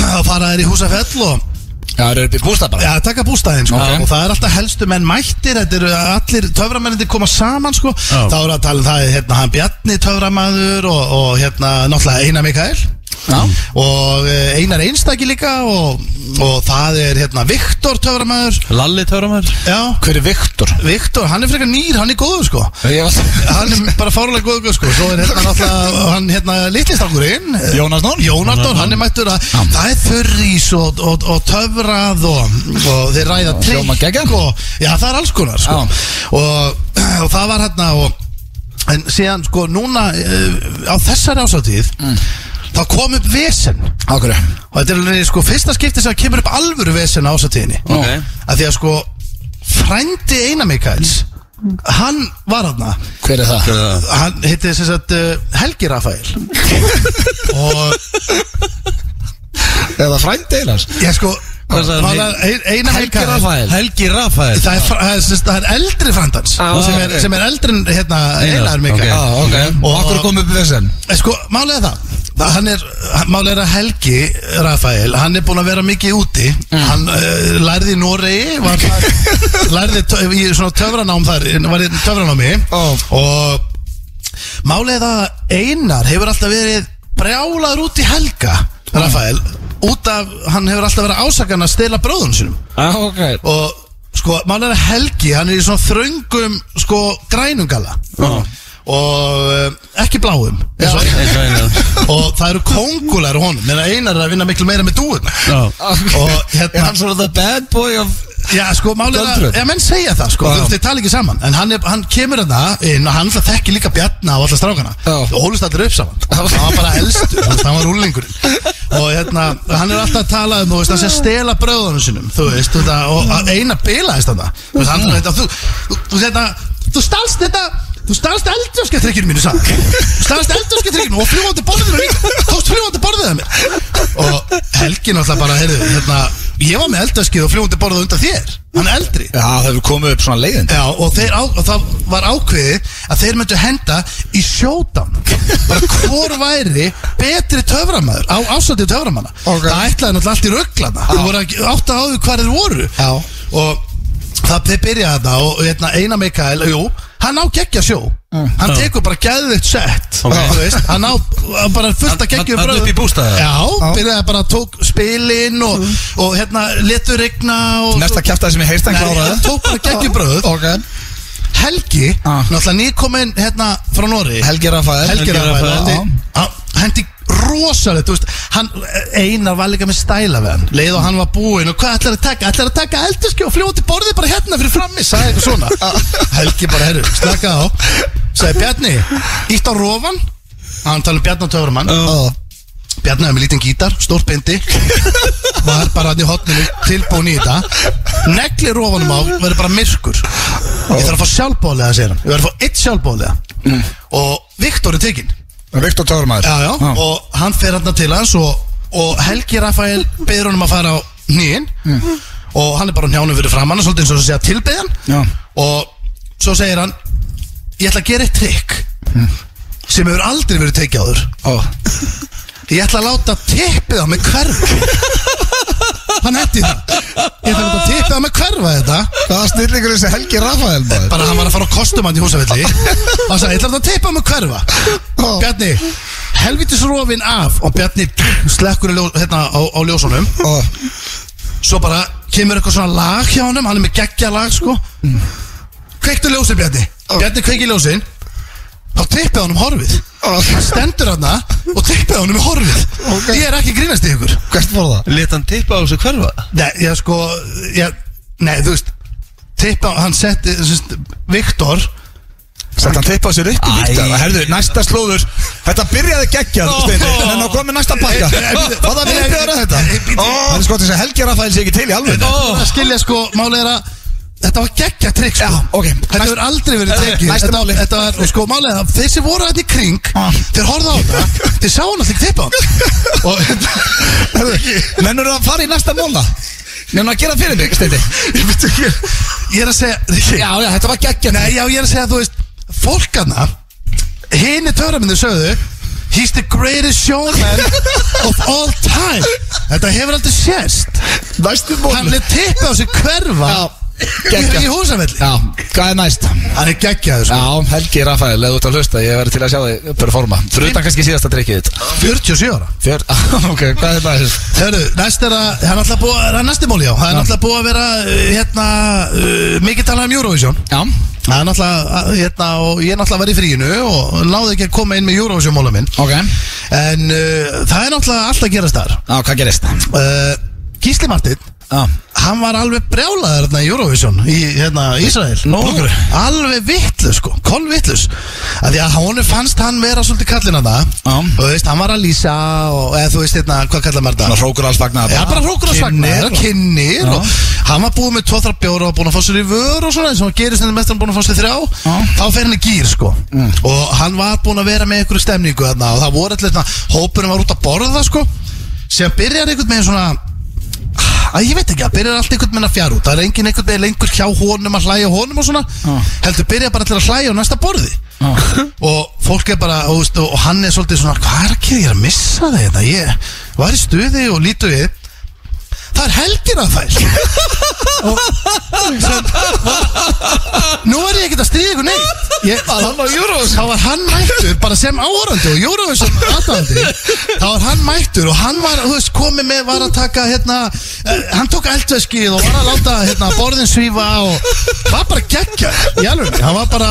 Speaker 8: þá fara þeir í húsafell og
Speaker 4: Já, það eru upp í bústað bara
Speaker 8: Já, taka bústæðin sko
Speaker 4: Ok.
Speaker 8: Og það er alltaf helstu menn mættir Þetta eru allir töframennir koma saman sko
Speaker 5: Já.
Speaker 8: Þá eru að tala um það hérna hann Bjarni töframæður og, og hérna náttúrulega Einar Mikael
Speaker 4: Já.
Speaker 8: Og eh, Einar Einstaki líka og, og það er hérna Viktor töframæður
Speaker 5: Lalli törumar
Speaker 8: Já,
Speaker 4: Hver er Viktor?
Speaker 8: Viktor, hann er frekar nýr, hann er góður sko
Speaker 4: Ég var-
Speaker 8: Hann er bara fárlega góður góður sko Svo er hérna náttúrulega, hann hérna litlistangurinn
Speaker 4: Jónas Nór?
Speaker 8: Jónardór, hann er mættur að það er þurrís og, og, og töfrað og, og þeir ræða
Speaker 4: hljóma
Speaker 8: trikk
Speaker 4: geggjað.
Speaker 8: og já það er alls konar sko. og, og það var hérna og En síðan sko núna uh, á þessari ásatíð
Speaker 4: Mm.
Speaker 8: þá kom upp vesen
Speaker 4: Ákveður
Speaker 8: og þetta er alveg sko fyrsta skipti sem kemur upp alvöru vesen á ásatíðinni
Speaker 1: Ok.
Speaker 8: að því að sko frændi Einar Mikaels hann var hann
Speaker 4: Hver er það?
Speaker 8: hann hitti sem sagt uh, Helgi Rafael og
Speaker 4: Er það frændi eiginlega?
Speaker 8: ég sko
Speaker 1: Hvað sagði
Speaker 8: var
Speaker 1: hann?
Speaker 8: það Ein- Einar
Speaker 4: Helgi
Speaker 8: Mikaels-
Speaker 4: Rafael.
Speaker 5: Helgi Rafael
Speaker 8: Það er, fra- það, er, sem sagt- það er eldri frandans
Speaker 4: Ah,
Speaker 8: sem, er,
Speaker 4: ok.
Speaker 8: sem er eldri en hérna Einar Mikael
Speaker 4: Já, Ah, ok Mm. Og okkur kom upp vesen
Speaker 8: En Sko, málega það Það- Hann er, hann- málið er að Helgi Rafael, hann er búin að vera mikið úti hann uh, lærði í Noregi var, þar- lærði tö- í svona töfranám þar, var í töfranámi
Speaker 4: Ó.
Speaker 8: og málið er það að Einar hefur alltaf verið brjálaður út í Helga Rafael, út af hann hefur alltaf verið ásakan að stela bróðun sinum
Speaker 4: Já, ok
Speaker 8: og sko, málið er að Helgi hann er í svona þröngum sko, grænungala og um, ekki bláum eins og
Speaker 1: Eins og einu.
Speaker 8: og það eru kongular á honum meðan einar er að vinna miklu meira með dúun og
Speaker 4: Er
Speaker 8: hérna
Speaker 4: hann svona the bad boy of
Speaker 8: já sko málið er
Speaker 4: Göldrur.
Speaker 8: að, já menn segja það sko
Speaker 4: Já.
Speaker 8: þeir, þeir tala ekki saman, en hann, er, hann kemur þarna inn og hann alltaf þekki líka bjarna á alla strákana
Speaker 4: Já.
Speaker 8: og hólust allir upp saman hann var bara elstu, þú veist, hann var úlingurinn og hérna, hann er alltaf að tala um þú veist, hann sé að stela bröðunum sinum þú veist, þetta, og að eina bilaðist þarna þú veist, hann, þetta, þú, þú, þú, þetta, þú stalst þetta Þú stalst eldurskjatrykkinu mínu sann Þú stalst eldurskjatrykkinu og fljóðandi borðinu líka Tókst fljóðandi borðið að mér Og Helgi náttúrulega bara, heyrðu hérna, Ég var með eldurskið og fljóðandi borðið undan þér Hann er eldri
Speaker 4: Já, það hefur komið upp svona leiðin
Speaker 8: Já, og, þeir á, og það var ákveðið að þeir myndu henda í sjótan bara hvor væri betri töframæður á ásættu töframanna
Speaker 4: Ok.
Speaker 8: það ætlaði náttúrulega allt í rögglana þú voru ekki átt að áður hvar þeir voru
Speaker 4: Já.
Speaker 8: og það þeir byrjaði þetta og, og hérna, Einar Mikael, jú hann á geggja sjó
Speaker 4: Mm.
Speaker 8: hann tekur bara gæðið sett þú veist, hann á hann bara fullt að geggja
Speaker 5: Hann- hann upp í bústaðið?
Speaker 8: já, byrjaði bara tók spilin og,
Speaker 4: Mm.
Speaker 8: og hérna letur regna og
Speaker 4: Næsta kjaftaði sem ég heyrst hann
Speaker 8: Nei,
Speaker 4: kláraði
Speaker 8: hann tók bara geggjubröð
Speaker 4: Ok
Speaker 8: Helgi,
Speaker 4: Ah.
Speaker 8: náttúrulega nýkominn hérna frá Nóri
Speaker 4: Helgi Rafael
Speaker 8: Helgi Rafael
Speaker 4: Já.
Speaker 8: hendi- á- hendi rosalegt, þú veist hann, Einar var líka með stæla við hann leið og hann var búinn og hvað ætlar að taka ætlar að taka eldurski og fljóti borðið bara hérna fyrir frammi sagði eitthvað svona Helgi bara, herru, slaka á sagði Bjarni, ítt á rofan hann tala um Bjarni Töframann
Speaker 4: Já.
Speaker 8: Bjarni hefði með lítinn gítar, stórt bindi var bara hann í hotninu tilbúin í þetta negli rofanum á, verður bara myrkur ég þarf að fá sjálfbóðlega, segir hann ég verður að fá eitt sjálfbóðlega og Viktor er tekinn
Speaker 4: Viktor Ah. Tórumæður
Speaker 8: já, já, og hann fer hann til hans og, og Helgi Rafael beður honum að fara á nýinn og hann er bara á njánum fyrir framann svolítið eins og þess að segja tilbeðan
Speaker 4: Já.
Speaker 8: og svo segir hann ég ætla að gera eitt trikk sem hefur aldrei verið tekið áður ég ætla að láta tippið á mig hverfa hann hætti það ég ætla að láta tippið á mig hverfa þetta
Speaker 4: Hvaða snillingur er þessi Helgi Rafael maður?
Speaker 8: bara hann var að fara á kostumann í húsafelli og hann sagði, ég ætla að teipa um að hverfa Bjarni, helvitis rofin af og Bjarni slekkur í ljó, hérna, á, á ljósunum
Speaker 4: Ó,
Speaker 8: svo bara kemur eitthvað svona lag hjá honum hann er með geggja lag sko
Speaker 4: Mm.
Speaker 8: kveiktu ljósin Bjarni Bjarni kveiki ljósin þá teipið honum horfið hann stendur hann og teipið honum í horfið ég er ekki að grínast í ykkur
Speaker 4: hvert fór það?
Speaker 5: Let hann tippa á þessu hverfa
Speaker 8: Nei, ég sko ég, Nei, þú veist Tippa, hann setti, þú veist, Viktor
Speaker 4: Sett hann tippa á sér upp í Viktor Herðu, næsta slóður Þetta byrjaði geggjað, Steini En þá komið næsta pakka Hvað það vilja gera þetta? Það er sko til þess að Helgi Rafael sé ekki til í alveg
Speaker 8: Það skilja sko, málið er að Þetta var geggja trikk sko
Speaker 4: ok.
Speaker 8: Þetta
Speaker 4: Næst-
Speaker 8: hefur aldrei verið tekið
Speaker 4: Næsta
Speaker 8: Þetta-
Speaker 4: máli.
Speaker 8: Þetta var, og sko, málið er að þeir sem voru þetta í kring
Speaker 4: Ah.
Speaker 8: Þeir horfðu á þetta Þeir sá hann að þeir tippa hann Og
Speaker 4: Herðu, mennur það að fara í næsta móla? Mennur að gera fyrir mig, Steini
Speaker 8: Ég veit ekki Ég er að segja Já, já, þetta var geggja Nei, já, ég er að segja, þú veist Fólkana Hini töframindu sögðu He's the greatest showman of all time Þetta hefur aldrei sérst
Speaker 4: Næstu
Speaker 8: Hann er tippið á sig hverfa
Speaker 4: Já,
Speaker 8: Í, í
Speaker 4: geggjað
Speaker 8: húsafelli
Speaker 4: Já, hvað er næst?
Speaker 8: Hann er geggjaður sko
Speaker 4: Já, Helgi Rafael, eða þú ert að hlusta, ég verði til að sjá þig performa Fyrir utan kannski síðasta trikkið þitt
Speaker 8: 47 ára
Speaker 4: Fjör, ok, hvað er næst?
Speaker 8: Hörru, næst er að Það er náttúrulega búið að Það er næsti móli já Það er náttúrulega búið að vera uh, Hérna uh, Mikið talað um Eurovision
Speaker 4: Já,
Speaker 8: Það er náttúrulega að, Hérna og ég er náttúrulega var í fríinu Og náði ekki að koma inn með Eurovision móla minn
Speaker 4: ok
Speaker 8: En uh, það er náttúrulega allt að gerast þar
Speaker 4: Já, hvað gerist?
Speaker 8: uh, Gísli Martin
Speaker 4: Já
Speaker 8: hann var alveg brjálaður hérna í Eurovision í hérna, Ísrael Nógru. alveg vittlus sko, kolvittlus af því að honum fannst hann vera svolítið kallinn að það og þú veist, hann var að lýsa og eða þú veist, hérna, hvað kallar maður það?
Speaker 4: Hrókur alls fagnar
Speaker 8: Já, bara hrókur og svagnar, kynnir og hann var búið með tvo þrjá bjóra og búin að fá sér í vör og svona eins og hann gerist henni mest hann búin að fá sér þrjá þá fer hann í gýr sko og hann var búin að vera með ykkur stemningu þarna og það voru allir þarna, hópurinn var út að borða sko sem byrjar einhvern veginn svona að ég veit ekki, það byrjar allt einhvern veginn að fjara út það er engin einhvern veginn lengur hjá honum að hlæja honum og svona, heldur byrja bara allir að hlæja á næsta borði og fólk er bara, og, veist, og hann er svolítið svona hvað er að gera, ég er að missa það hérna ég var í stuði og lítu við það er helgir að þær og sem, nú er ég ekkert að stríða ykkur neitt ég, hann var Eurovision þá var hann mættur bara sem áhorandi og Eurovision aðdáandi þá var hann mættur og hann var þú veist, komið með var að taka hérna eh, hann tók eldveskið og var að láta hérna, borðin svífa og var bara geggja í alveg hann var bara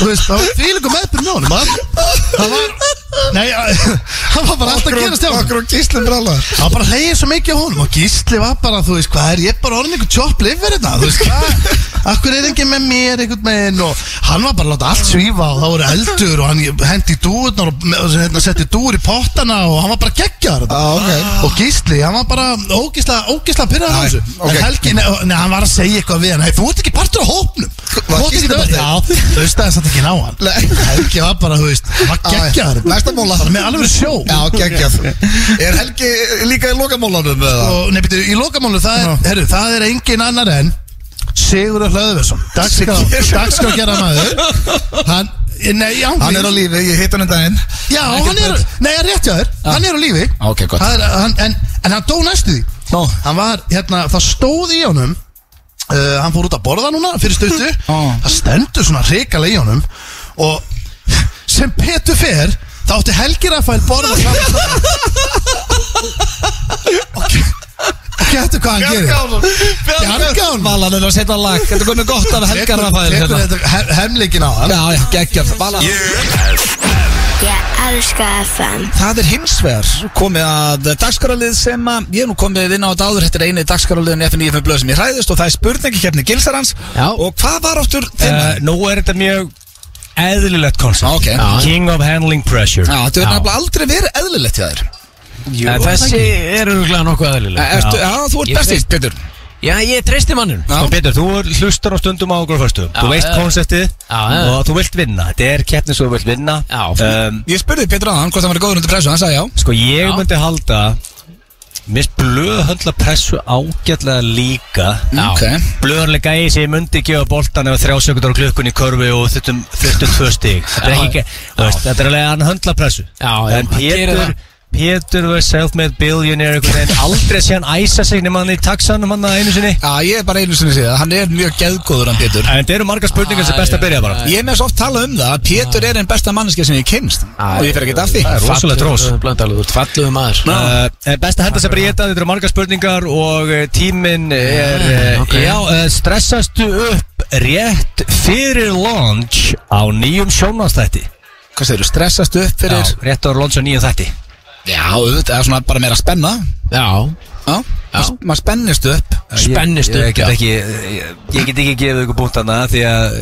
Speaker 8: þú veist það var fílingum meðbyrð með honum hann, hann var Nei, hann var bara alltaf að gera stjáðum
Speaker 4: Okkur og gíslum brála
Speaker 8: Það var bara hleyið svo mikið á honum og Gísli var bara, þú veist, hvað er ég bara orðin einhvern tjópp lifir þetta, hérna, þú veist, hvað Akkur er ekki með mér einhvern meginn og hann var bara að láta allt svífa og það voru eldur og hann hendi dúurnar og og hérna, setti dúur í pottana og hann var bara hérna. geggjar þetta
Speaker 4: Ah, ok.
Speaker 8: Og Gísli, hann var bara ógisla, ógisla
Speaker 4: Nei,
Speaker 8: pyrraður á þessu
Speaker 4: ok.
Speaker 8: En Helgi, nei, nei, hann var að segja eitthvað við hann, nei, þú ert ekki partur á hópnum
Speaker 4: Var
Speaker 8: Þú ert
Speaker 4: Gísli
Speaker 8: ekki
Speaker 4: partur?
Speaker 8: Já, þú veist það er satt ekki ná hann Helgi var bara, þú veist, hann var geggjar
Speaker 4: Næsta móla
Speaker 8: Hann er með alveg sjó
Speaker 4: Já, geggjað Er Helgi líka í lokamólanum eða?
Speaker 8: og nefnir, í lokamálu það er, herru, það er engin annar en Sigurður Hlöðversson dagskrá gera maður hann, nei, já,
Speaker 4: Hann er á lífi, ég hitt hann um daginn
Speaker 8: já, hann er, nei, ég er rétt hjá þér hann er á lífi
Speaker 4: Ok, gott.
Speaker 8: Það er, hann, en, en hann dó næstu
Speaker 4: Ó.
Speaker 8: því hann var, hérna, það stóð í honum uh, hann fór út að borða núna fyrir stöttu,
Speaker 4: Ó.
Speaker 8: það stendur svona hrikalega í honum og sem Petur fer þá átti Helgi Rafael borða saman saman. og getur hvað hann gerir Bjargán
Speaker 7: Valan er að setja á lag Þetta komið gott af Helga Rafæðir
Speaker 8: Tekur
Speaker 7: hérna.
Speaker 8: þetta he- hemleikin á hann
Speaker 7: Já, já, geggjart Valan
Speaker 9: Ég elska FM
Speaker 7: Það er hins vegar komið að dagskaralið sem að ég hef nú komið inn á þetta áður Þetta er eini dagskaraliðin FNF blöð sem ég hræðist og það er spurningakefni Gilsarans
Speaker 1: Já.
Speaker 7: Og hvað var áttur þeim?
Speaker 5: Eh, Nú er þetta mjög eðlilegt koncept
Speaker 7: Ok.
Speaker 5: King of Handling Pressure
Speaker 7: Já, þetta er nefnilega Eh, aldrei verið eðlilegt hjá þér
Speaker 1: En Þessi er örgulega nokkuð
Speaker 7: Já,
Speaker 5: Eh,
Speaker 1: aðlilega
Speaker 7: ertu, já þú ert
Speaker 1: Ég
Speaker 7: bestist, Petur
Speaker 1: Já, ég treysti mannum
Speaker 7: Já. eh.
Speaker 5: Sko Petur, þú er- hlustar á stundum á okkur fyrstu Þú veist
Speaker 1: já, já.
Speaker 5: konceptið
Speaker 1: Já, já.
Speaker 5: og þú vilt vinna Þetta er keppni svo þú vilt vinna
Speaker 1: Já.
Speaker 5: um,
Speaker 7: Ég spurði Petur á hann hvort hann var góður undir pressu, hann sagði já
Speaker 5: Sko ég myndi halda Mér finnst blöð höndla pressu ágætlega líka
Speaker 7: Ok.
Speaker 5: Blöðanlega gæði sem ég myndi gefa boltan ef þrjá sekundar á klukkun í körfu og þurftum 42 stig Þetta er ekki, þú veist, þetta er alveg hann höndla pressu
Speaker 1: Já, já,
Speaker 5: En
Speaker 1: hann gerir
Speaker 5: Pétur
Speaker 1: það.
Speaker 5: Pétur var self-made billionaire einhvern veginn aldrei sé hann æsa sig nema hann í taxanum hann einu sinni
Speaker 7: Já, ég er bara einu sinni síðan, hann er mjög geðgóður hann Pétur
Speaker 5: En þetta eru margar spurningar sem er best að byrja bara
Speaker 7: Ég er með svo oft talað um það að Pétur er einn besta manneska sem ég kemst Og ég fer ekki af því
Speaker 5: Það er rosalega trós
Speaker 1: Blöndalur, þú ert falluðu maður
Speaker 5: Uh, eh, best að henda sér bara í þetta, þetta eru margar spurningar og eh, tíminn er uh,
Speaker 1: ok.
Speaker 5: Já, uh, stressastu upp rétt fyrir launch á nýjum sjónastætti
Speaker 7: Hvað segirðu, stressast upp
Speaker 5: Já,
Speaker 7: fyrir
Speaker 5: rétt á launch á nýjum þætti
Speaker 7: Já, auðvitað, eða svona bara meira spenna
Speaker 1: Já,
Speaker 7: Já, já. maður spennist upp
Speaker 1: Spennist
Speaker 5: ég,
Speaker 1: upp,
Speaker 5: ég get
Speaker 1: já.
Speaker 5: ekki, ég, ég get ekki gefið ykkur búnt hana því að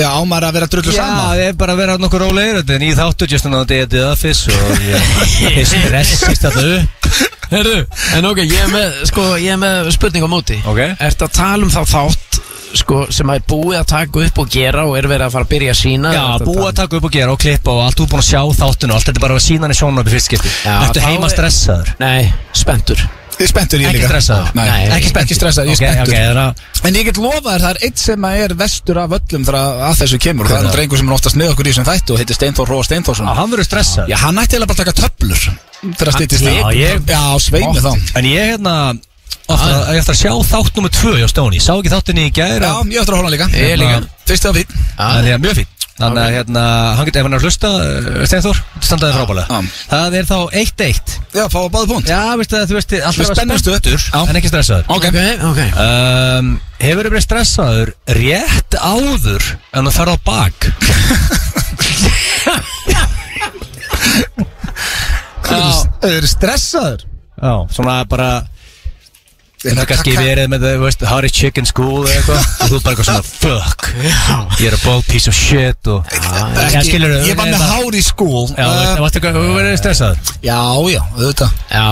Speaker 7: Já, maður er að vera drullu
Speaker 5: Já,
Speaker 7: saman
Speaker 5: það er bara að vera nokkuð rólegir Þetta er nýð þáttur, just another day at the office og ég ég stressist þetta upp
Speaker 1: Herru, en ok, ég er með, sko, ég er með spurning á móti
Speaker 5: Ok.
Speaker 1: Ertu að tala um þá þátt sko, sem að er búið að taka upp og gera og er verið að fara að byrja að sína
Speaker 5: Já, búið að taka upp og gera og klippa og allt, þú er búin að sjá þáttun og allt, þetta er bara að sína hann í sjónarbi fyrst skipti
Speaker 1: Já,
Speaker 5: Ertu
Speaker 1: þá
Speaker 5: heima
Speaker 1: er-
Speaker 5: stressaður?
Speaker 1: Nei, spenntur
Speaker 7: Ég er spenntur ég
Speaker 5: Ekki
Speaker 7: líka
Speaker 5: stressaður?
Speaker 7: Nei,
Speaker 1: Nei,
Speaker 7: ekki spenntur, ekki stressaður, ég er spenntur
Speaker 5: Ok, ok, þannig
Speaker 7: En ég get lofa þér, það er eitt sem að er vestur af öllum þegar að- að þessu kemur og Það er nú drengur sem er oftast með okkur í þessum þættu og heitir Steinþór Róa Steinþórsson
Speaker 5: að hann verður stressaður
Speaker 7: Já, hann ætti eiginlega bara að taka töflur Þegar að stýttist
Speaker 5: Já, ég-
Speaker 7: Já, svei mig þá
Speaker 5: En ég hérna, eftir að- ég eftir að sjá þátt nummer 2 hjá Stóni, sá ekki þáttinni í
Speaker 7: Já,
Speaker 5: gæra
Speaker 7: ég ætti að horfa á hann líka
Speaker 1: Ég líka.
Speaker 7: Fyrst af fín
Speaker 5: Þannig að mjög fín Þannig að hérna, hann getur, ef hann er að hlusta, eh, Steinþór, standaði frábælega
Speaker 7: já.
Speaker 5: Það er þá 1-1
Speaker 7: Já, fá að báða punkt
Speaker 5: Já, veistu það, þú veist, alltaf að
Speaker 7: Spennist
Speaker 5: vera
Speaker 7: öttur
Speaker 5: spennt, En ekki stressaður
Speaker 7: Ok
Speaker 1: Ok, ok
Speaker 5: um, Hefur verið stressaður rétt áður en þú ferð á bak
Speaker 7: Þeir eru stressaður
Speaker 5: Já, svona bara Þetta er kannski verið með, þú veist, Harry Chicken School eða eitthvað og þú bara eitthvað svona, fuck Ég er a bald piece of shit og Já, skilur
Speaker 4: Ég var með hár í skúl
Speaker 5: Já, þú
Speaker 4: Eh,
Speaker 5: veist, þú veist, þú verður stressað
Speaker 4: Já, já, auðvitað
Speaker 5: Já,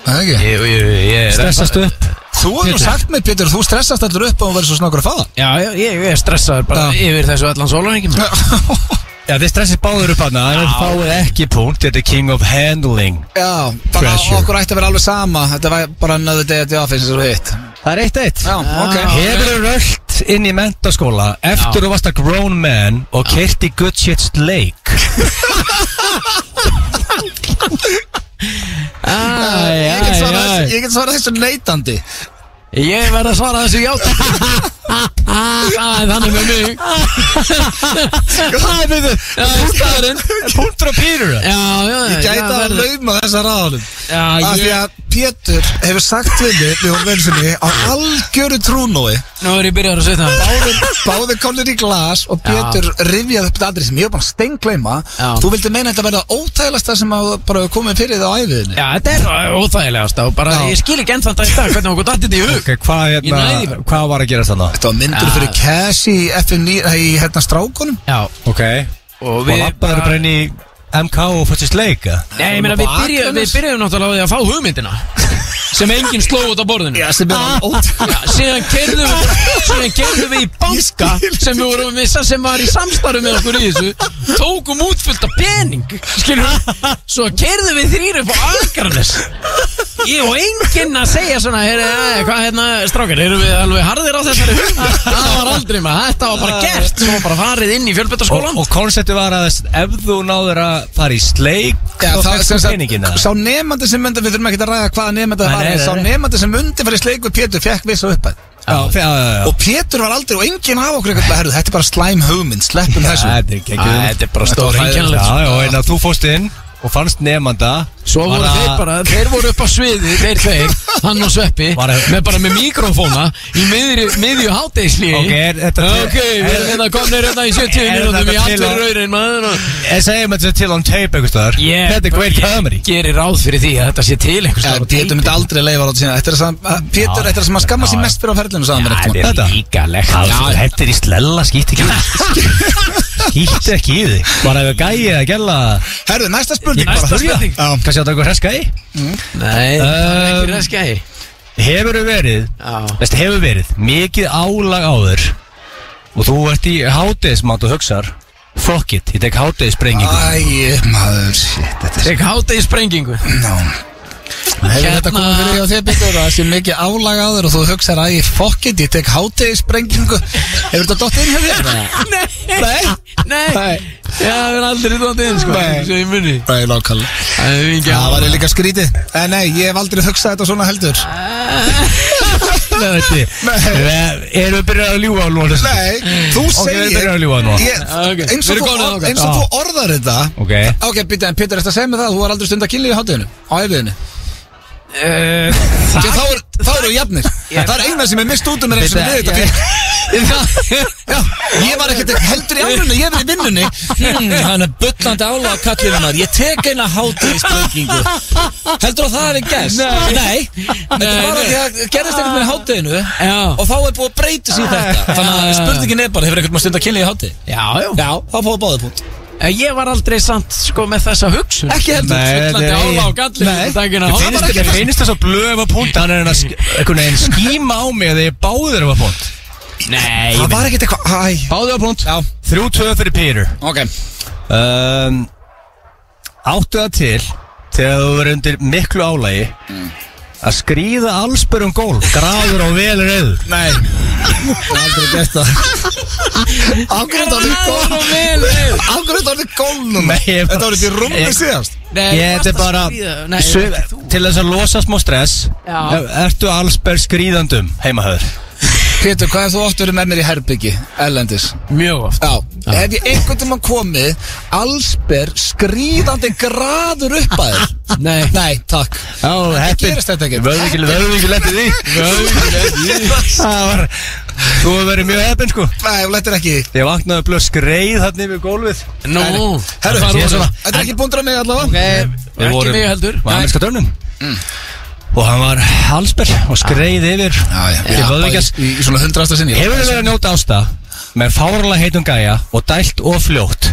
Speaker 4: Það er ekki
Speaker 5: ég, ég, ég Stressast upp
Speaker 4: Þú hefur nú
Speaker 5: Pétur.
Speaker 4: sagt mér, Pétur, þú stressast allur upp og verður svo snakur að fá
Speaker 5: Já, já, ég, ég er stressaður bara
Speaker 4: Já.
Speaker 5: yfir þessu allan sólarhengjum
Speaker 4: það
Speaker 5: Já, þið stressið báður upp hana, þannig að þið fáið ekki punkt Þetta er king of handling
Speaker 4: Já, bara
Speaker 5: Pressure.
Speaker 4: okkur ætti að vera alveg sama Þetta var bara another day at the office og hitt
Speaker 5: Það er eitt eitt
Speaker 4: Já, ok
Speaker 5: Hefur þú rölt inn í mentaskóla eftir þú varst að grown man og kert í good shit's lake
Speaker 4: Ah, ég, get svarað
Speaker 5: já.
Speaker 4: þessu- ég get svarað þessu neitandi
Speaker 5: Ég verð að svara þessu játt Það er þannig með mig
Speaker 4: Hvað er þetta?
Speaker 5: Staðurinn Puntur og pýrur Já, já,
Speaker 4: Ég gæta að lauma þessa ráðunum Af því að Pétur hefur sagt við mig við hún vinsinni á algjöru trúnói
Speaker 5: Nú er ég byrjar að setja það
Speaker 4: Báðir, báðir komnir í glas og Pétur rifjaði upp þetta atrið sem ég var bara steingleima
Speaker 5: Já.
Speaker 4: Þú vildi meina þetta verða ótægilegsta sem að bara hefur komið fyrir það á æfiðinni
Speaker 5: Já, þetta er óþægilegast og bara
Speaker 4: Já.
Speaker 5: ég skil ekki ennþann dag í dag hvernig okkur dætti þetta í hug okay, hvað,
Speaker 10: hérna-
Speaker 5: hvað var að gera þannig?
Speaker 4: Þetta var myndur
Speaker 5: Já.
Speaker 4: fyrir Cash í FM9 í hérna strákunum
Speaker 5: Já
Speaker 10: Ok
Speaker 5: Og við
Speaker 10: labbaðirðu bara
Speaker 5: inn í MK og fættist leika Nei, ég meina við byrjuðum við byrjuðum náttúrulega á því að fá hugmyndina sem enginn sló út á borðinu Já,
Speaker 4: sem er alveg
Speaker 5: Já, síðan kerðum við síðan kerðum við í banka sem við vorum með sem var í samstarfi með okkur í þessu tókum út fullt af pening skilur við svo kerðum við þrýr upp á Akarnes ég og enginn að segja svona heyri, æ, hvað hérna strákar erum við alveg harðir á þessari hugmynd það var aldrei maður þetta var bara gert svo bara farið inn í fjölbættaskólan og, og konceptu var að ef þú náður að fara í sleik um
Speaker 4: Já, það sem sagt, sá nefandi sem myndi, við þurfum ekki að ræða hvaða nefandi það
Speaker 5: Nei,
Speaker 4: var,
Speaker 5: nei,
Speaker 4: en
Speaker 5: nei,
Speaker 4: sá
Speaker 5: nei.
Speaker 4: nefandi sem myndi fyrir sleiku Pétur fekk viss og uppæð.
Speaker 5: já, já, já,
Speaker 4: Og Pétur var aldrei, og enginn af okkur eitthvað, herru, þetta er bara slæm hugmynd, sleppum þessu.
Speaker 5: Þetta er geggjum Þetta er bara sko.
Speaker 4: stór einkennilegt.
Speaker 5: Já, já, en að þú fóst inn og fannst nefnanda Svo voru þeir bara, Ah. þeir voru upp á sviði Þeir þeir, hann og Sveppi með bara með mikrofóna í miðri, miðju hátegisli Ok, er þetta Ok, við erum hérna komnir hérna í 70 minútum í allur raurin maður
Speaker 4: hérna-
Speaker 5: Ég segi maður þetta til on tape einhverstaðar yeah, Þetta er great comedy Gerir ráð fyrir því að þetta sé til
Speaker 4: Já,
Speaker 5: einhverstaðar
Speaker 4: Eh, Pétur myndi aldrei leifa á þetta sína. Þetta er það, sem- Pétur, þetta er það sem að skamma sér mest fyrir á ferlinu, sagði hann mér eitthvað.
Speaker 5: Þetta er líkalegt Þetta er í slella, skýtt ekki Skýtt ekki í þig Bara ef gæið að gæla
Speaker 4: Herru, næsta spurning bara.
Speaker 5: Næsta spurning
Speaker 4: Já.
Speaker 5: Kanski áttu eitthvað reskæði? Nei, það er ekki reskæði Hefur Um, verið veist, Hefur verið mikið álag á þér Og þú ert í hátegismat og hugsar Fuck it, ég tek hátegissprengingu
Speaker 4: Æ, maður, shit, þetta er...
Speaker 5: Tek hátegissprengingu
Speaker 4: Ná. Hefur þetta komið fyrir hjá þér, Pétur, að það sé mikið álag á þér og þú hugsar að ég fokk it, ég tek hátegissprengingu. Hefur þetta dottið inn hjá þér?
Speaker 5: Nei, nei Já, við erum aldrei tóndið inn, sko
Speaker 4: Nei.
Speaker 5: Svo ég muni
Speaker 4: Nei, lokal.
Speaker 5: Það er mikið
Speaker 4: Það var
Speaker 5: álag
Speaker 4: líka skrítið Nei, nei, ég hef aldrei hugsað þetta svona heldur
Speaker 5: Ah. Eh, Erum við byrjað að ljúga á lóðan
Speaker 4: Nei, þú
Speaker 5: Ok,
Speaker 4: segir
Speaker 5: við byrjum að ljúga núna.
Speaker 4: Ég-
Speaker 5: Ah, Ok,
Speaker 4: Eins og
Speaker 5: við erum
Speaker 4: þú
Speaker 5: komin
Speaker 4: or-
Speaker 5: þangað.
Speaker 4: eins og þú orðar þetta
Speaker 5: Ok.
Speaker 4: Ok, býta, en Pétur, eftir að segja mér það að Þú var aldrei stund að kynli í hátíðinu Á æfiðinu Þá er- þá eru við jafnir Það er eina sem er mist út um mér eins og við þetta fyrir Já, ég var ekkert heldur í árunni, ég var í vinnunni
Speaker 1: Hmm, Hann er bullandi álag kallið hennar Ég tek eina hátið í sprengingu Heldur það að það hefði gerst? Nei, Þetta er bara því að gerðist ekkert með hátiðinu Og þá er búið að breyta sér þetta Þannig að spurningin er bara, hefur ekkert maður stund að kynna í hátið?
Speaker 5: Já, já
Speaker 1: Já, þá fóðu báðið punkt
Speaker 5: Eh, Ég var aldrei samt sko með þessa hugsun
Speaker 1: Ekki heldur.
Speaker 5: Fullandi ála á gallin
Speaker 1: hérna.
Speaker 5: Dagina á
Speaker 4: finnst- mér
Speaker 5: finnst þess að blöfa punkt Hann er einhvern veginn skíma á mig Þegar ég báður var punkt Nei
Speaker 4: Það var ekkert eitthvað, æ
Speaker 5: Báður var punkt Þrjú tvö fyrir Pírur
Speaker 4: Ok,
Speaker 5: um, Áttu það til Þegar þú verður undir miklu álægi Að skrýða allsbörum gól Graður og vel reyður
Speaker 4: nei Aldrei gert það Ákveðan það er góð
Speaker 5: og vel reyður
Speaker 4: Akkur þetta orðið gólnum
Speaker 5: Nei, ég
Speaker 4: Þetta
Speaker 5: bara-
Speaker 4: orðið í rúmi
Speaker 5: ég-
Speaker 4: síðast
Speaker 5: Ég, þetta er bara Sum- Til þess að losa smá stress er- Ertu allsberg skrýðandum heimahöður?
Speaker 4: Pétur, hvað hefur þú oft verið með mér í herbyggi, Erlendis?
Speaker 5: Mjög oft
Speaker 4: Já, hef ég einhvern tímann komið Allsber skrýðandi graður upp að þér Nei Nei, takk
Speaker 5: Já, heppin
Speaker 4: gerist þetta ekki.
Speaker 5: Vöðvíkil, vöðvíkil lettið því Vöðvíkil lettið því Það var Þú hefur verið mjög heppin sko
Speaker 4: Nei, þú lettir ekki
Speaker 5: Ég vaknaði blöð skreið þarna yfir gólfið Nú
Speaker 4: Herru,
Speaker 5: Það var
Speaker 4: þetta
Speaker 5: svona
Speaker 4: er ekki búndur að mig allavega
Speaker 11: Mm.
Speaker 5: Ekki mjög heldur Var ameríska dörnum og hann var halsber og skreið
Speaker 11: Ah.
Speaker 5: yfir
Speaker 4: já,
Speaker 5: til
Speaker 4: já,
Speaker 5: Vöðvíkjans.
Speaker 4: í, í svona hundrasta sinni
Speaker 5: Hefur þið verið að njóta ásta með fárala heitum gæja og dælt og fljótt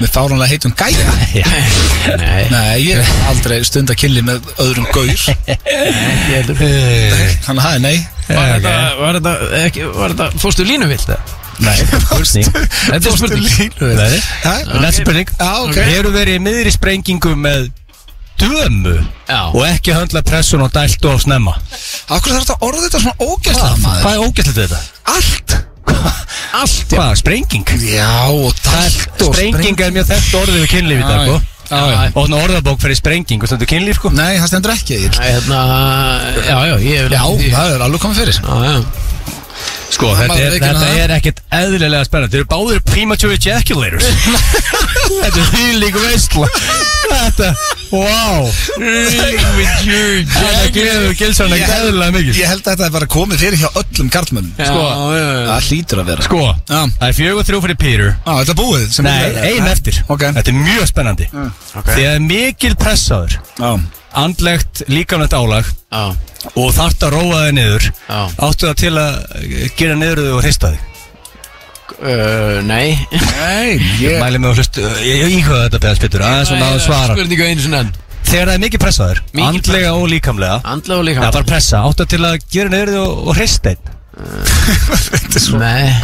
Speaker 4: Með fáránlega heitum gæja
Speaker 11: Nei,
Speaker 4: Nei, ég hef aldrei stund að kynli með öðrum gaur
Speaker 5: Eh,
Speaker 4: Þannig að það er nei
Speaker 11: var þetta, var þetta, ekki, var þetta, fórstu línuvill það?
Speaker 5: Nei, spurning Þetta er spurning Nei,
Speaker 4: Ha?
Speaker 5: Næsta spurning
Speaker 4: Já,
Speaker 11: Ah,
Speaker 4: ok.
Speaker 5: Hefur verið í miðri sprengingu með dömu
Speaker 11: Já.
Speaker 5: og ekki höndla pressun og dælt og snemma
Speaker 4: Akkur þarf þetta að orða þetta svona ógæslega maður
Speaker 5: Hvað er ógæslegt þetta?
Speaker 4: Allt
Speaker 5: Allt Hvað, sprenging?
Speaker 4: Já, og dalt og
Speaker 5: Sprenging er mjög þekkt orðið við kynlíf í
Speaker 4: Já,
Speaker 5: dag sko.
Speaker 4: já, já.
Speaker 5: Og svona orðabók fyrir sprenging og stundu kynlíf sko.
Speaker 4: Nei, það stendur ekki Egill.
Speaker 11: Æ, hérna, já, já, ég hef
Speaker 4: Já, það er alveg komið fyrir
Speaker 11: já, já
Speaker 5: Sko, þetta
Speaker 4: maður
Speaker 5: er,
Speaker 4: veit ekki
Speaker 5: þetta
Speaker 4: hana.
Speaker 5: er ekkert eðlilega spennandi Þeir eru báðir premature ejaculators Þetta er því líka veistla Þetta, wow Premature Þetta gleður Gilsson ekki eðlilega mikið
Speaker 4: Ég held að þetta er bara komið fyrir hjá öllum karlmönnum
Speaker 11: Sko, já, já,
Speaker 4: Það hlýtur að vera
Speaker 5: Sko,
Speaker 4: Já.
Speaker 5: það er fjögur þrjú fyrir Peter
Speaker 4: Á, þetta er búið sem
Speaker 5: Nei,
Speaker 4: við-
Speaker 5: ein eftir
Speaker 4: Ok.
Speaker 5: Þetta er mjög spennandi mm, okay. Þegar mikil pressaður
Speaker 4: Já.
Speaker 5: Andlegt líkamlegt álag
Speaker 11: já,
Speaker 5: Og þart að róa þig niður
Speaker 11: Já.
Speaker 5: Áttu það til að eh, gera niður þig og hrista þig
Speaker 11: uh, nei
Speaker 4: Nei, ég
Speaker 5: Mæli mig að uh, hlustu Ég ég íhuga þetta beðast Peter Aðeins svona að svara
Speaker 11: Spurningu einu sinni enn
Speaker 5: Þegar það er mikið pressaður
Speaker 11: Mikil
Speaker 5: Andlega og líkamlega
Speaker 11: Andlega og líka
Speaker 5: Það er bara pressa Áttu það til að gera niður þig og, og hrista þig
Speaker 11: Eh, Nei,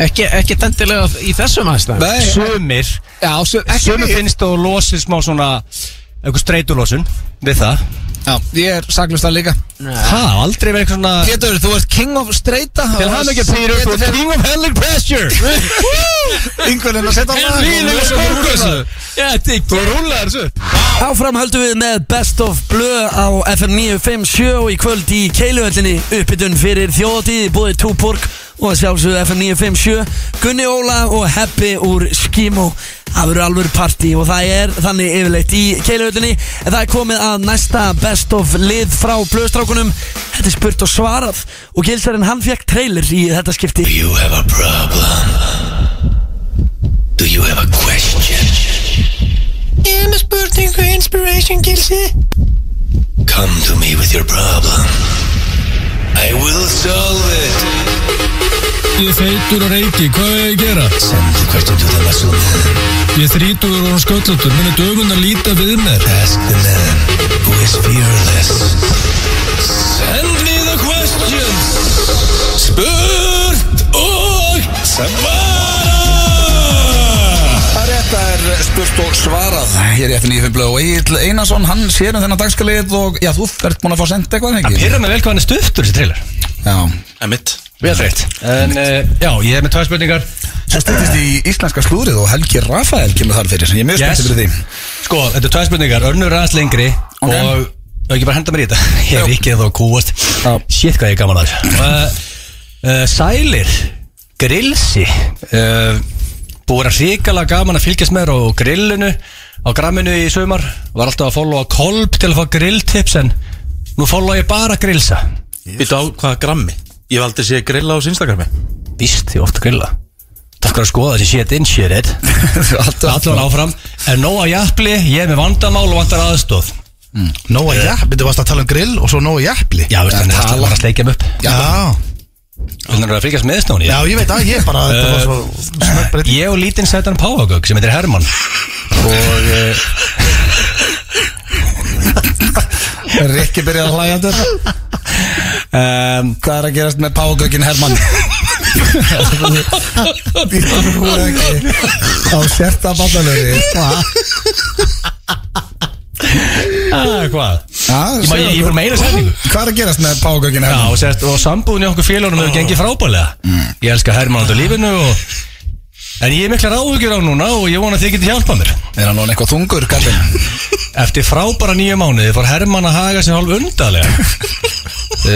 Speaker 11: ekki, ekki tendilega í þessum aðstæðum
Speaker 4: Nei,
Speaker 5: Sumir
Speaker 4: já, svo,
Speaker 5: Sumir
Speaker 4: ekki
Speaker 5: finnst þú losið smá svona Eitthvað streitulósun Við það
Speaker 4: Já, ég er saklust það líka
Speaker 5: Hæ, aldrei verið eitthvað svona
Speaker 4: Pétur, þú ert king of streyta
Speaker 5: Til hann ekki að pýra upp og king of helling pressure
Speaker 4: Yngvelin að setja á það
Speaker 5: Lílega spókusu Já, tík Þú rúlar þessu upp
Speaker 1: Áfram höldum við með Best of Blö á FM 957 og í kvöld í Keiluhöllinni uppbytun fyrir þjóðatíð búið Túborg og að sjálfsögðu FM 957 Gunni Óla og Heppi úr Skimo það verður alveg partí og það er þannig yfirleitt í Keiluhöllinni en það er komið að næsta Best of lið frá Blöstrákunum þetta er spurt og svarað og Gilsarinn hann fekk trailer í þetta skipti
Speaker 3: You have a problem Do you have a question?
Speaker 11: Ég er með spurningu Inspiration Gilsi
Speaker 3: Come to me with your problem I will solve it
Speaker 5: Ég feitur og reyki, hvað er ég að gera?
Speaker 3: Send the question to the muscle man
Speaker 5: Ég þrítur og hún sköllutur Munu dögun að líta við mér
Speaker 3: Ask the man who is fearless Send me the question Spurt og svara
Speaker 4: Þetta er spurt og svarað Hér er FN í Fimblöð og Egil Einarsson Hann sér um þennan dagskalið og já, þú ert búin að fá sendt eitthvað ekki?
Speaker 5: Pyrra mig vel hvað hann er stuftur þessi trailer
Speaker 4: Já
Speaker 3: Emitt
Speaker 5: Vel þreitt En eh, já, ég er með tvær spurningar
Speaker 4: Svo styrtist í íslenska slúrið og Helgi Rafael kemur þar fyrir Ég er mjög
Speaker 5: Yes.
Speaker 4: spenntið fyrir því
Speaker 5: Sko, þetta er tvær spurningar Önnur aðeins lengri
Speaker 4: Ok.
Speaker 5: Og og ekki bara henda mér í þetta Ég er ekki þá kúast Shit hvað ég er gaman að þessu uh, uh, Sælir Grilsi uh, Búið að ríkala gaman að fylgjast með þér á grillinu Á gramminu í sumar Var alltaf að followa kolb til að fá grilltips En nú followa ég bara grillsa
Speaker 11: Býttu á hvaða grammi
Speaker 6: Ég hef aldrei séð grilla á Instagrami
Speaker 5: Víst, ég ofta grilla Takk fyrir að skoða þessi shit in shit it Allan áfram En nóa jafnli, ég er með vandamál og vandar aðstóð
Speaker 8: Nóa jæpli, þú varst að tala um grill og svo nóa jæpli
Speaker 5: Já, veist, hann er alltaf bara að sleikja mig upp
Speaker 8: Já,
Speaker 5: Þannig að það er að fylgjast með snóni
Speaker 8: já, ég veit að ég bara, þetta var svo snöggbreytt
Speaker 5: Ég og lítinn sætan Páhagögg sem heitir Herman Og uh,
Speaker 4: Rikki byrjaði að hlæja aftur
Speaker 5: um,
Speaker 4: Hvað er að gerast með págökin Hermann? Býttu þú ekki á sérta bandalöri
Speaker 5: að, Hvað? Ég, má- ég, ég
Speaker 4: Hvað
Speaker 5: fór með eina setningu
Speaker 4: er að gerast með págökin
Speaker 5: Já,
Speaker 4: Hermann?
Speaker 5: og, sérst, og sambúðin í okkur félagunum hefur gengið frábælega Ég elska Herman út á lífinu og, En ég er mikla ráðugjur á núna og ég vona að þið getið hjálpað mér
Speaker 4: Er hann orðinn eitthvað þungur, kallinn?
Speaker 5: Eftir frábæra nýju mánuði fór Herman að haga sér hálf undarlega uh,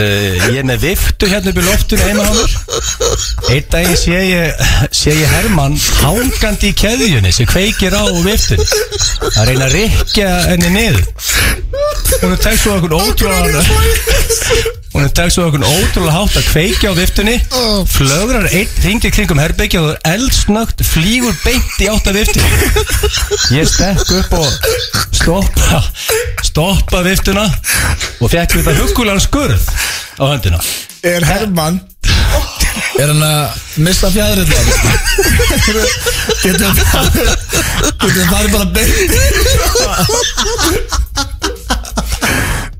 Speaker 5: Ég er með viftu hérna upp í loftinu einu hálfur Eitt daginn sé ég, sé ég Herman hangandi í keðjunni sem kveikir á viftun að reyna að rikja henni niður Hún er tekst svo okkur ótrúlega Hún er tekst svo okkur ótrúlega hátt að kveikja á viftunni Flögrar einn ringi kringum herbyggja og er eldsnögt flýgur beint í átt að viftunni Ég stekk upp og stoppa stoppa viftuna og fekk við það hugulegan skurð á höndina
Speaker 4: Er Herman
Speaker 7: Er hann að missa fjæðrið það? Getum Getum farið bara beint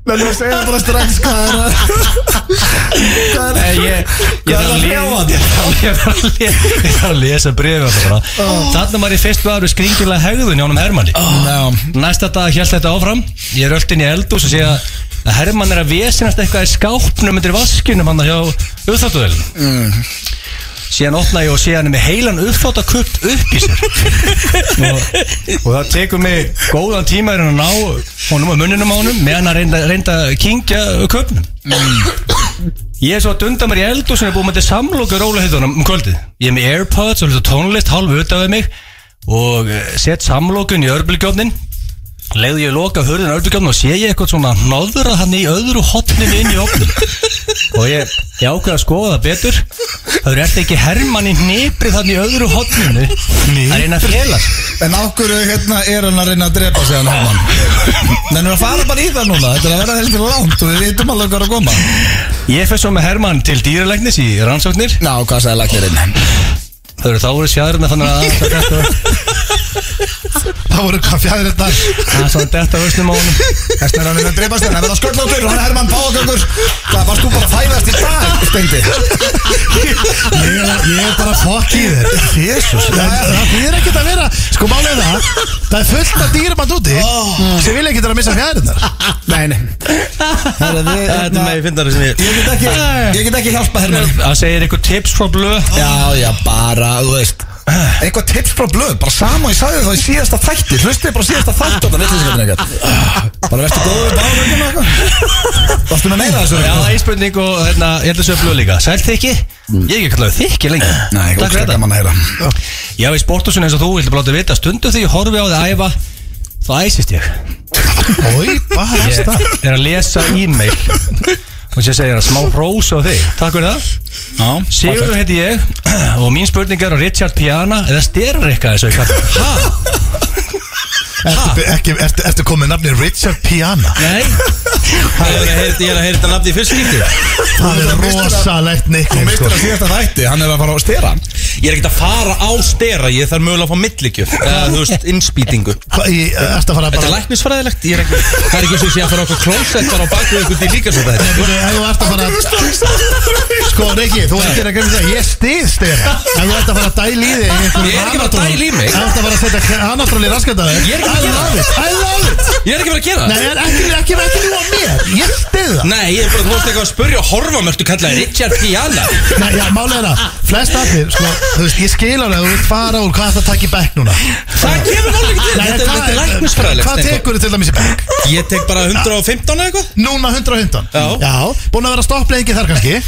Speaker 8: Menni að segja bara strax hvað er að Hvað
Speaker 5: Nei, ég, ég
Speaker 8: Hvað er
Speaker 5: þarf að lesa
Speaker 8: að hrjá hann?
Speaker 5: Ég þarf að le- ég þarf að lesa brefið Þannig var ég fyrstu aðru skringilega hegðun Jónum Hermanni Næsta dag held þetta áfram Ég er öll inn í eldús og sé að að Hermann er að vesinast eitthvað í skápnum undir vaskinum hann hjá uppþáttuðelin
Speaker 4: mm.
Speaker 5: síðan opna ég og sé hann er með heilan uppþáttakupp upp í sér og, og það tekur mig góðan tíma er hann að ná honum og munninum á honum meðan hann reynda, reynda að kingja kuppnum ég er svo að dunda mér í eld og sem er búið með þetta samlokur rólehiðunum um kvöldið ég er með airpods og hluta tónlist hálf utan við mig og eh, set samlokun í örbulgjófnin leiði ég loka hörðin örbulgjófnin og sé ég eitthvað svona náðurað hann í öðru hotninu inn í opnum og ég, ég ákveða að skoða það betur það eru eftir ekki Hermann í hnipri þannig í öðru hotninu að reyna að fela sig.
Speaker 4: En okkur hérna er hann að reyna að drepa sig hann Herman Þannig að fara bara í það núna Þetta er að vera heldur langt og við vitum alveg hvað er að koma
Speaker 5: ég fer svo með Hermann til dýralegnis í rannsóknir
Speaker 4: Ná, hvað sagði lagnirinn?
Speaker 5: það eru þá voru sjáðurinn þannig að það er þetta
Speaker 8: Það voru hvað hérna? fjæðrið það
Speaker 5: Það er svona detta vörsnum á honum
Speaker 4: Þessna er hann að dreipast þér, hann verða sköllóttur og hann er Herman Páðagöngur Það varst þú bara að fæðast í dag, steindi
Speaker 8: Ég er- Ég er bara fokk í þér Jesus Það það þýðir ekkert að vera Sko málið er það Það er fullt af dýrum að úti sem vilja ekkert að missa fjæðrið þar
Speaker 4: Nei, nei
Speaker 6: Þetta er með ég fyndar sem ég
Speaker 4: Ég get ekki, ég get ekki hjálpa Herman
Speaker 5: Það segir eitthvað tips frá blöð
Speaker 4: Já, já, bara, þú veist Eitthvað tips frá blöð, bara sama og ég sagði það í síðasta þætti Hlustið bara á síðasta þætti og það villið sig eitthvað Bara verðstu góður báðugum eitthvað Varstu með meira af þessu
Speaker 5: Já, það er spurning og hérna, ég held að segja blöð líka Sæl þykki? Ég er ekki kallaði þykki lengi
Speaker 4: Mm. Eh, Nei,
Speaker 5: Takk fyrir
Speaker 4: ógeðslega
Speaker 5: þetta
Speaker 4: gaman að heyra
Speaker 5: Já, í sportusun eins og þú vildi bara láta vita Stundu þegar ég horfi á þig að æfa Þá æsist ég
Speaker 8: Ói, bara
Speaker 5: Ég
Speaker 8: það
Speaker 5: er að lesa e-mail Og sér segir að smá hrós á þig Takk fyrir það
Speaker 4: Já,
Speaker 5: Sigurður heiti ég Og mín spurning er á Richard Piana Eða Sterrikka þessu Hæ?
Speaker 8: Ertu, ekki, ertu, ertu komið nafni Richard Piana
Speaker 5: Nei
Speaker 6: Ég er að heyrta nafni í fyrst skipti
Speaker 8: Það er rosalegt nickname sko.
Speaker 4: Mistur á síðasta þætti, hann er að fara á stera
Speaker 6: Ég er ekkert að fara á stera Ég þarf mögulega að fá millikjöf Eða þú veist, innspýtingu
Speaker 8: Hva- í- Ertu að fara
Speaker 6: Þetta er
Speaker 8: bara
Speaker 6: læknisfræðilegt Ég er ekki, það er ekki eins og ég að fara á okkur klósett bara á bakvið ykkur til líka svo þetta
Speaker 8: Nei, byrju, ef Þú ert að fara Sko Riki, þú ert að gera grein fyrir því að ég stið stera Ef þú ert að fara að dæla í þig í einhverjum
Speaker 6: Ég er ekki að fara að
Speaker 8: anatról-
Speaker 6: dæla í mig.
Speaker 8: Ef Þú ert að fara að setja anatról í raskataði
Speaker 6: Ég er ekki að
Speaker 8: I
Speaker 6: gera
Speaker 8: love it, I love it
Speaker 6: Ég er ekki að fara að gera
Speaker 8: Nei,
Speaker 6: það
Speaker 8: en ekki, ekki, ekki nú á mér Ég stið það
Speaker 6: Nei, ég er bara, þú veist eitthvað að spurja og horfa mér Þú kallaði Richard Piana
Speaker 8: Nei, já, málega er það Flest allir, sko, þú veist, ég skil alveg að Þú vilt fara úr hvað það takk í bekk núna
Speaker 6: Það kemur nálega ekki til
Speaker 8: Nei, en
Speaker 6: Þetta er-
Speaker 8: hvað-
Speaker 6: þetta er læknisfræðilegt
Speaker 8: Hvað
Speaker 6: Stenko.
Speaker 8: tekur þú til dæmis í bekk?
Speaker 6: Ég tek bara 115 eða eitthvað
Speaker 8: Núna 115
Speaker 6: Já.
Speaker 8: búin að vera stoppleikin þar kannski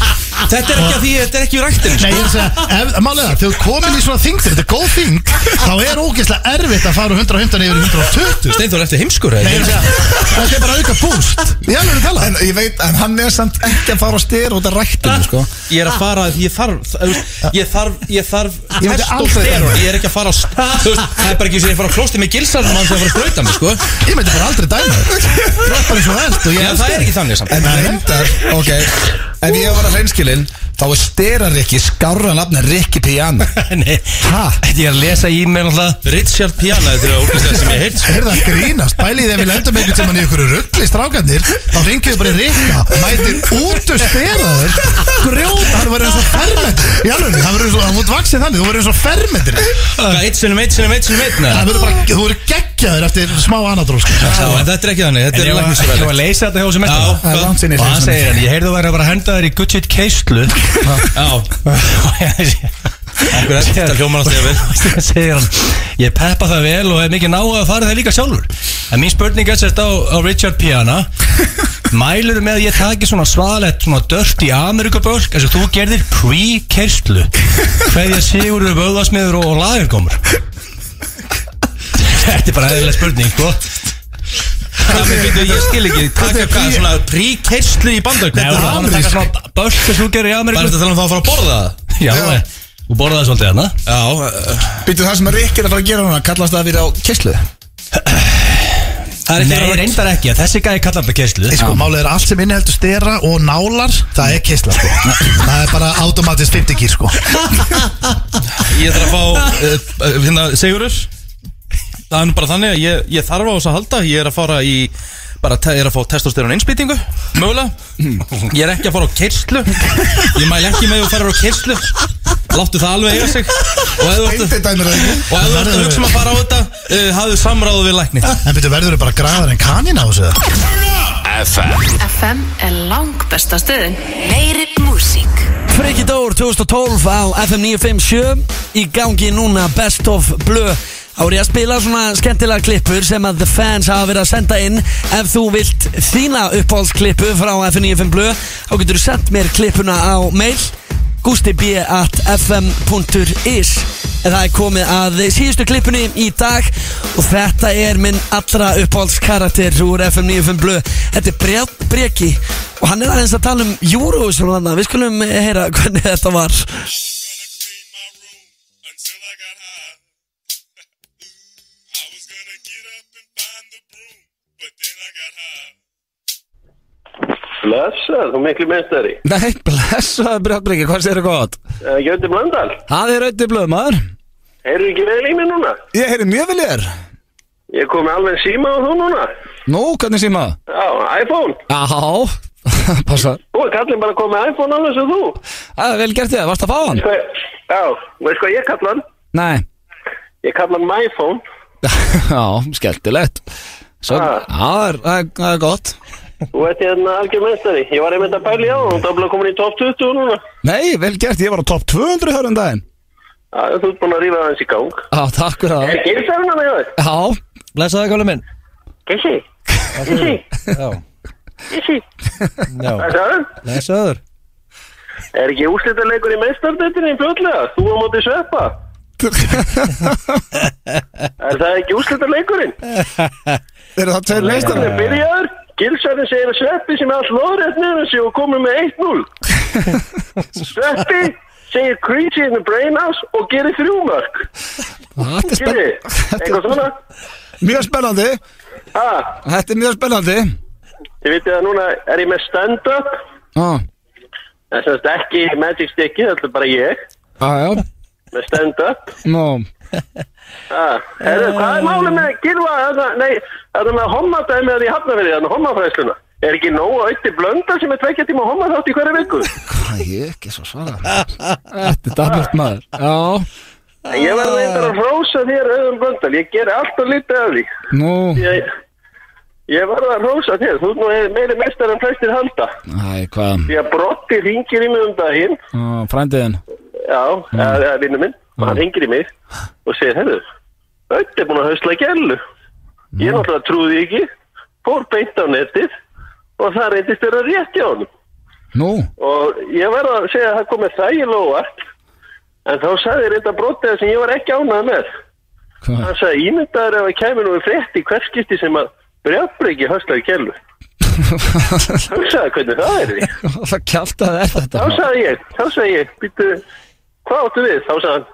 Speaker 6: Þetta er ekki að því, þetta er ekki úr ættin
Speaker 8: Nei, ég er að segja, ef- málega, þegar þú komin í svona þingd Þetta er góð þingd Þá er ógeðslega erfitt að fara úr 115 yfir í 120
Speaker 6: Steinþór, ertu heimskur
Speaker 8: Nei, ég er að segja, þetta er bara auka búst Ég alveg tala
Speaker 4: En ég veit, en hann er samt ekki að fara á stera út af rættinu, sko
Speaker 6: Ég er að fara, ég þarf þú veist, Ég þarf, ég þarf
Speaker 8: Ég veit
Speaker 6: test og
Speaker 8: aldrei-
Speaker 6: steroid. Ég er ekki að fara á st- Þú veist, Það er bara ekki eins og ég er að fara á klósti með gilsarnum Hann sem að fara að sprauta mig, sko
Speaker 8: Ég myndi bara aldrei dæma þig Það er bara eins og þú ert og ég
Speaker 6: Já, það er ekki þannig samt
Speaker 4: En reyndar, ok En ég var að reynskilin Þá er stera Rikki skárra nafn en Rikki Piano
Speaker 5: Nei
Speaker 8: Hæ?
Speaker 5: Ég er að lesa e-mail alltaf
Speaker 6: Richard Piana, þetta er ógæslega sem ég heilt
Speaker 8: Er það að grínast? Bælið ef við lendum einhvern tímann í ykkur ruggli strákandir Þá ringum við bara í Rikka Mætir út og steraður Grjóta, hann verður eins og fermendur Í alveg, hann verður eins og, hann mútt vaksið þannig Þú verður eins og fermendur
Speaker 6: Hvað, eitt sinnum, eitt sinnum, eitt sinnum, eitt neða?
Speaker 8: Það verður bara, þú verður geggjaður eftir smá anadról sko.
Speaker 6: Já, en þetta er ekki þannig,
Speaker 5: En
Speaker 6: þetta
Speaker 5: ég var,
Speaker 6: er
Speaker 5: ég var
Speaker 6: læknisfræðilegt
Speaker 5: að leysa þetta hjá sem eftir
Speaker 6: Já, það er langt
Speaker 4: síðan ég
Speaker 5: Og
Speaker 4: leysi
Speaker 5: hann
Speaker 4: þetta.
Speaker 5: segir hann, ég heyrði að vera bara að henda þér í Gucci keislu
Speaker 6: Já,
Speaker 5: Akkur
Speaker 6: akkurat, þetta hljómar alltaf vel.
Speaker 5: segir hann, ég peppa það vel og hef mikið ná að fara það líka sjálfur En mín spurning er sérst á, á Richard Piana Mælurðu með að ég taki svona svaðalett, svona dört í Amerikabölk eins og þú gerðir pre-keislu Hverja sigurðu vöðasmiður og, og lagerkomur Þetta er bara eðlilega spurning, sko
Speaker 12: Ég skil ekki, taka hvað, svona príkerslu í bandaríkjum
Speaker 5: Þetta er amerísk.
Speaker 12: svona börstu sem þú gerir í Ameríku
Speaker 5: Bara þetta tala um það að fara að borða það?
Speaker 12: Já,
Speaker 5: Já.
Speaker 12: þú borðaði svolítið hérna
Speaker 5: Já,
Speaker 13: Býtu það sem að Rikki er að fara að gera núna Kallast það að vera á kesslu
Speaker 12: Það er ekki Nei, reyndar ekki, þessi gæði kallar þetta kerslu
Speaker 8: Sko, málið er allt sem inniheldur stera og nálar Það er kistla sko Það er bara automatist 50 kýr sko
Speaker 5: Ég þarf að fá uh, uh, hérna, Sigurur Það er nú bara þannig að ég, ég þarf á þess að halda Ég er að fara í bara te, ég er að fá testosterón einspýtingu mögulega ég er ekki að fara á keirslu ég mæl ekki með að þú farir á keirslu láttu það alveg eiga sig og ef þú ert
Speaker 8: dæmir það ekki
Speaker 5: og ef þú ert að hugsa um að fara á þetta uh, hafðu samráðu við lækni
Speaker 8: En betur verður þau bara græðar en kanín á þessu eða?
Speaker 2: FM er langbesta stöðin Meiri músík
Speaker 1: Freki Dór 2012 á FM 957 í gangi núna Best of Blue Þá er ég að spila svona skemmtilega klippur sem að the fans hafa verið að senda inn Ef þú vilt þína uppáhaldsklippu frá FM 95 Blue þá getur þú sendt mér klippuna á mail gustib.fm.is En það er komið að síðustu klippunni í dag og þetta er minn allra uppáhaldskarakter úr FM 95 Blue Þetta er Brjá- Breki og hann er aðeins að tala um Eurovision og annað Við skulum eh, heyra hvernig þetta var
Speaker 14: Blessað, þú miklu mestari.
Speaker 4: Nei, blessaður Brjáttbríki, hvað séu gott?
Speaker 14: Uh, Gjöndi Blöndal,
Speaker 4: Það er auðvitað blöð, maður
Speaker 14: heyrðu ekki vel í mig núna?
Speaker 4: Ég heyri mjög vel ég er
Speaker 14: Ég kom með alveg síma á þú núna.
Speaker 4: Nú, hvernig síma?
Speaker 14: Já, iPhone.
Speaker 4: Já, passa
Speaker 14: Þú er kallin bara að koma með iPhone alveg sem þú.
Speaker 4: Það er vel gert þig, varst að fá hann?
Speaker 14: Sko, já, veist hvað ég kalla hann?
Speaker 4: Nei,
Speaker 14: Ég kalla hann MyPhone.
Speaker 4: já, skemmtilegt Svo,
Speaker 14: Ah.
Speaker 4: já, það er- það er- það er gott
Speaker 14: Þú ert hérna algjör mestari. Ég var einmitt að bæli á og þú er bara komin í top 20 núna.
Speaker 4: Nei, vel gert, ég var á topp 200 hörðum daginn
Speaker 14: Já, þú ert búin að rífa það eins í gang.
Speaker 4: Já, takk fyrir það
Speaker 14: Er gilsarinn að með það?
Speaker 4: Já,
Speaker 12: Blessaði gálu minn
Speaker 14: Gissi? Gissi?
Speaker 12: Já,
Speaker 14: Gissi?
Speaker 12: já,
Speaker 14: Hvað sagði hann?
Speaker 12: blessaður
Speaker 14: Er ekki úrslitaleikur í meistardöndinni fljótlega? Þú á móti sveppa? er það ekki úrslitaleikurinn?
Speaker 4: eru það tveir
Speaker 14: Leikurinn er byrjaður Gilsarinn segir að sveppi sem er alls loðrætt neður sig og komur með 1-0 Sveppi segir crazy in the brain house og gerir þrjúmark
Speaker 4: Þetta er
Speaker 14: Gilli,
Speaker 4: spenn-
Speaker 14: eitthvað svona
Speaker 4: mjög spennandi
Speaker 14: Ha,
Speaker 4: Þetta er mjög spennandi
Speaker 14: þið vitið að núna er ég með stand-up
Speaker 4: Já,
Speaker 14: Það er semst ekki magic sticky, þetta er bara ég
Speaker 4: já, já,
Speaker 14: með stand-up
Speaker 4: nú
Speaker 14: Ah, Herru, hvað er málið með Gilva? þarna- Nei, það er með hommadæmið að ég hafna fyrir þannig, hommafræsluna. Er ekki nóg að auðvitað blönda sem er tvekja tíma homma þátt í hverja viku?
Speaker 4: Hvað ég ekki svo svara Þetta er dæmjöld maður Já,
Speaker 14: En Ég verði reyndar að rósa þér auðvitað blöndal. Ég ger alltaf lítið af því.
Speaker 4: nú
Speaker 14: Ég, ég verði að rósa þér. Þú ert nú meiri mestar en flestir halda.
Speaker 4: Æ, hvað,
Speaker 14: Því að brotti ringir í mig um daginn.
Speaker 4: Ó, frændin
Speaker 14: Já,
Speaker 4: Mm.
Speaker 14: það er vinnu minn. Og hann ringir í mig og segir, herru, auðvitað er búin að hausla gælu.
Speaker 4: Mm.
Speaker 14: Ég náttúrulega trúði ekki. Fór beint á netið og það reyndist vera rétt hjá honum.
Speaker 4: Nú,
Speaker 14: og ég verða að segja að það komið þægilega óvart en þá sagði reynda brotið sem ég var ekki ánað með
Speaker 4: hvað
Speaker 14: hann sagði ímyndaður ef að kemur nú í frétti hvert skipti sem að brjábreyki höslaði kellu hugsaði hvernig það er því
Speaker 4: Það kjált að það er
Speaker 14: þá
Speaker 4: þetta
Speaker 14: sagði ég, þá sagði ég býttu, hvað áttu við? þá sagði hann,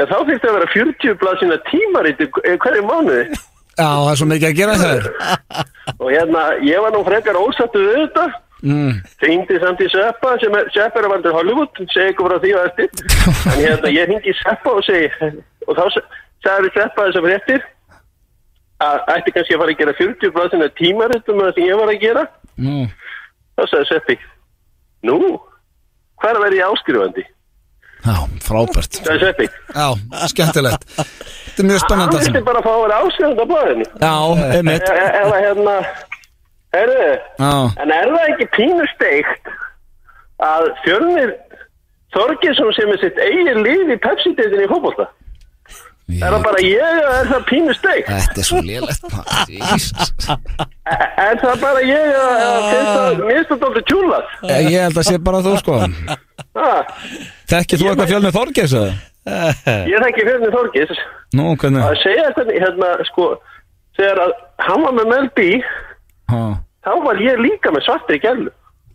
Speaker 14: já þá þýtti að vera 40 blaðsina tímarit hverju eh, mánuði
Speaker 4: Já, það er svo mikið að gera þér
Speaker 14: og hérna, ég var nú frekar ósattu við þetta
Speaker 4: mm.
Speaker 14: Hringdi samt í Sveppa sem er, Sveppa er að vandur Hollywood, segi ykkur frá því og eftir. En hérna, ég hringi í Sveppa og segi, og þá sa- sagði Sveppa þess að fréttir, að ætti kannski að fara að gera 40 blaðsina tímaritum með um það sem ég var að gera.
Speaker 4: Nú,
Speaker 14: Þá sagði Sveppi, nú, hvað er að vera ég áskrifandi?
Speaker 4: já, frábært
Speaker 14: Sagði Sveppi,
Speaker 4: Já, skemmtilegt Þetta er mjög
Speaker 14: hann
Speaker 4: spennandi allt
Speaker 14: vilti
Speaker 4: saman.
Speaker 14: bara fá að vera áskrifandi á blæðinu.
Speaker 4: Já, einmitt
Speaker 14: E- e- Eða hérna, herðu,
Speaker 4: Já,
Speaker 14: En er það ekki pínu steikt að fjörnir Þorgesson sem er sitt eigin líf í Pepsi-deitin í fótbolta? Er það bara ég eða er það pínu steikt?
Speaker 4: þetta er svo lélegt maður Jesus.
Speaker 14: E- Er það bara ég eða
Speaker 12: Ah.
Speaker 14: eða finnst það minnstundóttur tjúlað?
Speaker 4: Eh, Ég ég held að sé bara þú sko
Speaker 14: Ha,
Speaker 4: Þekkir þú eitthvað fjölnið Þorgeis eða?
Speaker 14: ég þekki fjörnir Þorges
Speaker 4: Nú, hvernig?
Speaker 14: að segja hvernig hérna sko þegar að hann var með Mel B
Speaker 2: þá var ég líka með svartri gælu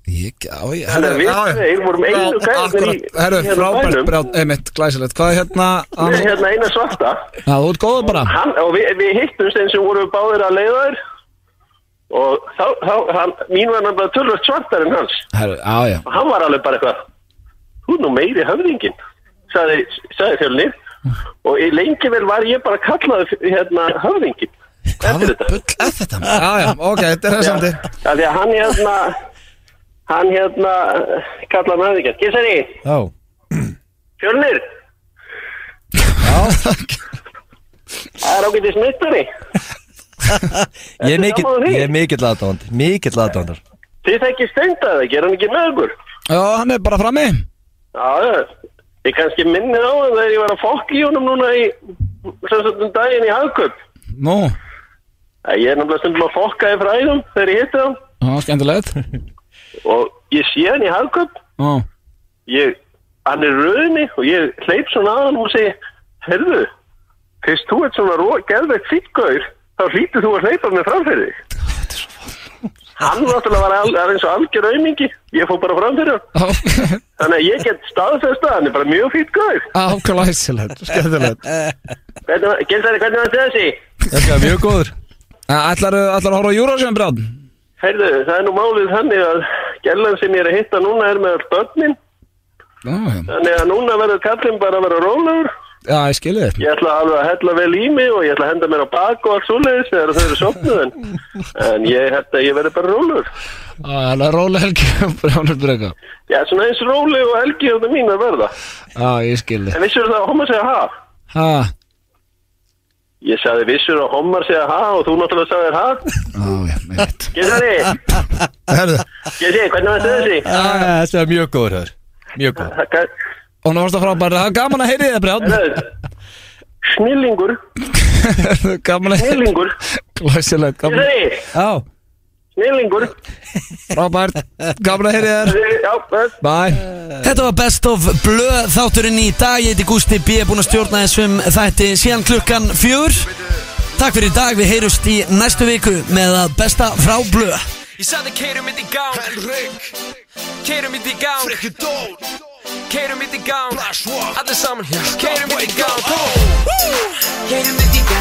Speaker 4: Ég, á, ég,
Speaker 2: Þannig að við tveir vorum einu gælunir í-
Speaker 4: Herru,
Speaker 2: í hérna
Speaker 4: frábært,
Speaker 2: bænum.
Speaker 4: brjál, einmitt, glæsilegt Hvað er hérna?
Speaker 2: með hérna eina svarta
Speaker 4: Já, þú ert góður bara
Speaker 2: hann, og við, við hittumst eins og vorum báðir að leiða þér og þá, þá hann, mín var náttúrulega tölvöld svartar en hans
Speaker 4: Herru, á, já
Speaker 2: og hann var alveg bara eitthvað hún nú meiri höfðingin sagði, sagði fjölnir og í lengi vel var ég bara kallaði hérna höfðingin eftir þetta
Speaker 4: Já, já, ok, þetta er þessandi
Speaker 2: af því að hann hérna hann hérna kallaði mig höfðingin Gissari,
Speaker 4: Já
Speaker 2: fjölnir það er ágætið smittari
Speaker 5: Ég er
Speaker 2: Ertu
Speaker 5: mikill,
Speaker 2: sammála því?
Speaker 5: ég er mikill aðdáðandi Mikill aðdáðandar
Speaker 2: þið þekki steindaði, ekki, er hann ekki með okkur
Speaker 4: Já, hann er bara frammi
Speaker 2: Já, já. ég kannski minnir á það þegar ég var að fokk í honum núna í samsöndum daginn í hagköp.
Speaker 4: Nú,
Speaker 2: Ég er náttúrulega stundum að fokka í fræðum þegar ég hitti þá
Speaker 4: já, skemmtilegt
Speaker 2: og ég sé hann í hagköp,
Speaker 4: Já,
Speaker 2: ég, hann er rauðinni og ég hleyp svona að hann og segi, herðu, fyrst þú ert svona gerðvegt fýtgaur, þá hlýtur þú að hleypa mig fram fyrir þig. Hann náttúrulega var al, var eins og algjör aumingi, ég fór bara fram fyrir hann. Þannig að ég get staðfesta, hann er bara mjög fýtgaur.
Speaker 4: á, glæsilegt, skemmtilegt
Speaker 2: Gildari, hvernig var þetta þessi?
Speaker 4: Þetta er mjög góður Ætlarðu ætlarðu að horfa á Júrasjón, brjál?
Speaker 2: Heyrðu, það er nú málið þannig að gellan sem ég er að hitta núna er með all börnin
Speaker 4: Já,
Speaker 2: Þannig að núna verður kallinn bara að vera rólegur
Speaker 4: já, ég skilði þér
Speaker 2: Ég ætla alveg að hella vel í mig og ég ætla að henda mér á bak og allt svoleiðis þegar þau eru sopnuð en, en ég held að ég verður bara rólegur
Speaker 4: Já, það er róleg helgi, brjálur breyka
Speaker 2: Já, svona eins róleg og helgi og það mín að verða
Speaker 4: Já, ég skilði
Speaker 2: En vissur það að homar segja ha?
Speaker 4: Ha,
Speaker 2: Ég sagði vissur að homar segja ha og þú náttúrulega sagðir ha
Speaker 4: á, já, einmitt
Speaker 2: Gessari,
Speaker 4: Herðu Ah,
Speaker 2: Gessi, hvernig var þetta þessi?
Speaker 5: Þetta er mjög góður hér Mjög góður
Speaker 4: Og nú varst það frábæri, það er gaman að heyri þið,
Speaker 2: brjál Snillingur
Speaker 4: Gaman að heyri
Speaker 2: Snillingur
Speaker 4: Glæsilegt, gaman
Speaker 2: Gessari,
Speaker 4: Já,
Speaker 2: snillingur
Speaker 4: Robert, gaman að heyri þér
Speaker 2: Já, bless
Speaker 4: Bye
Speaker 1: Þetta var Best of Blöð þátturinn í dag Ég heiti Gústi B. Búin að stjórna þessum þætti síðan klukkan fjör Takk fyrir í dag, við heyrust í næstu viku með að besta frá Blöð
Speaker 15: Ég sagði keirum mitt í gang Henrik Keirum mitt í gang Frikki Dól Keirum mitt í gang Flashwalk Allir saman hér Keirum mitt í gang Keirum mitt í gang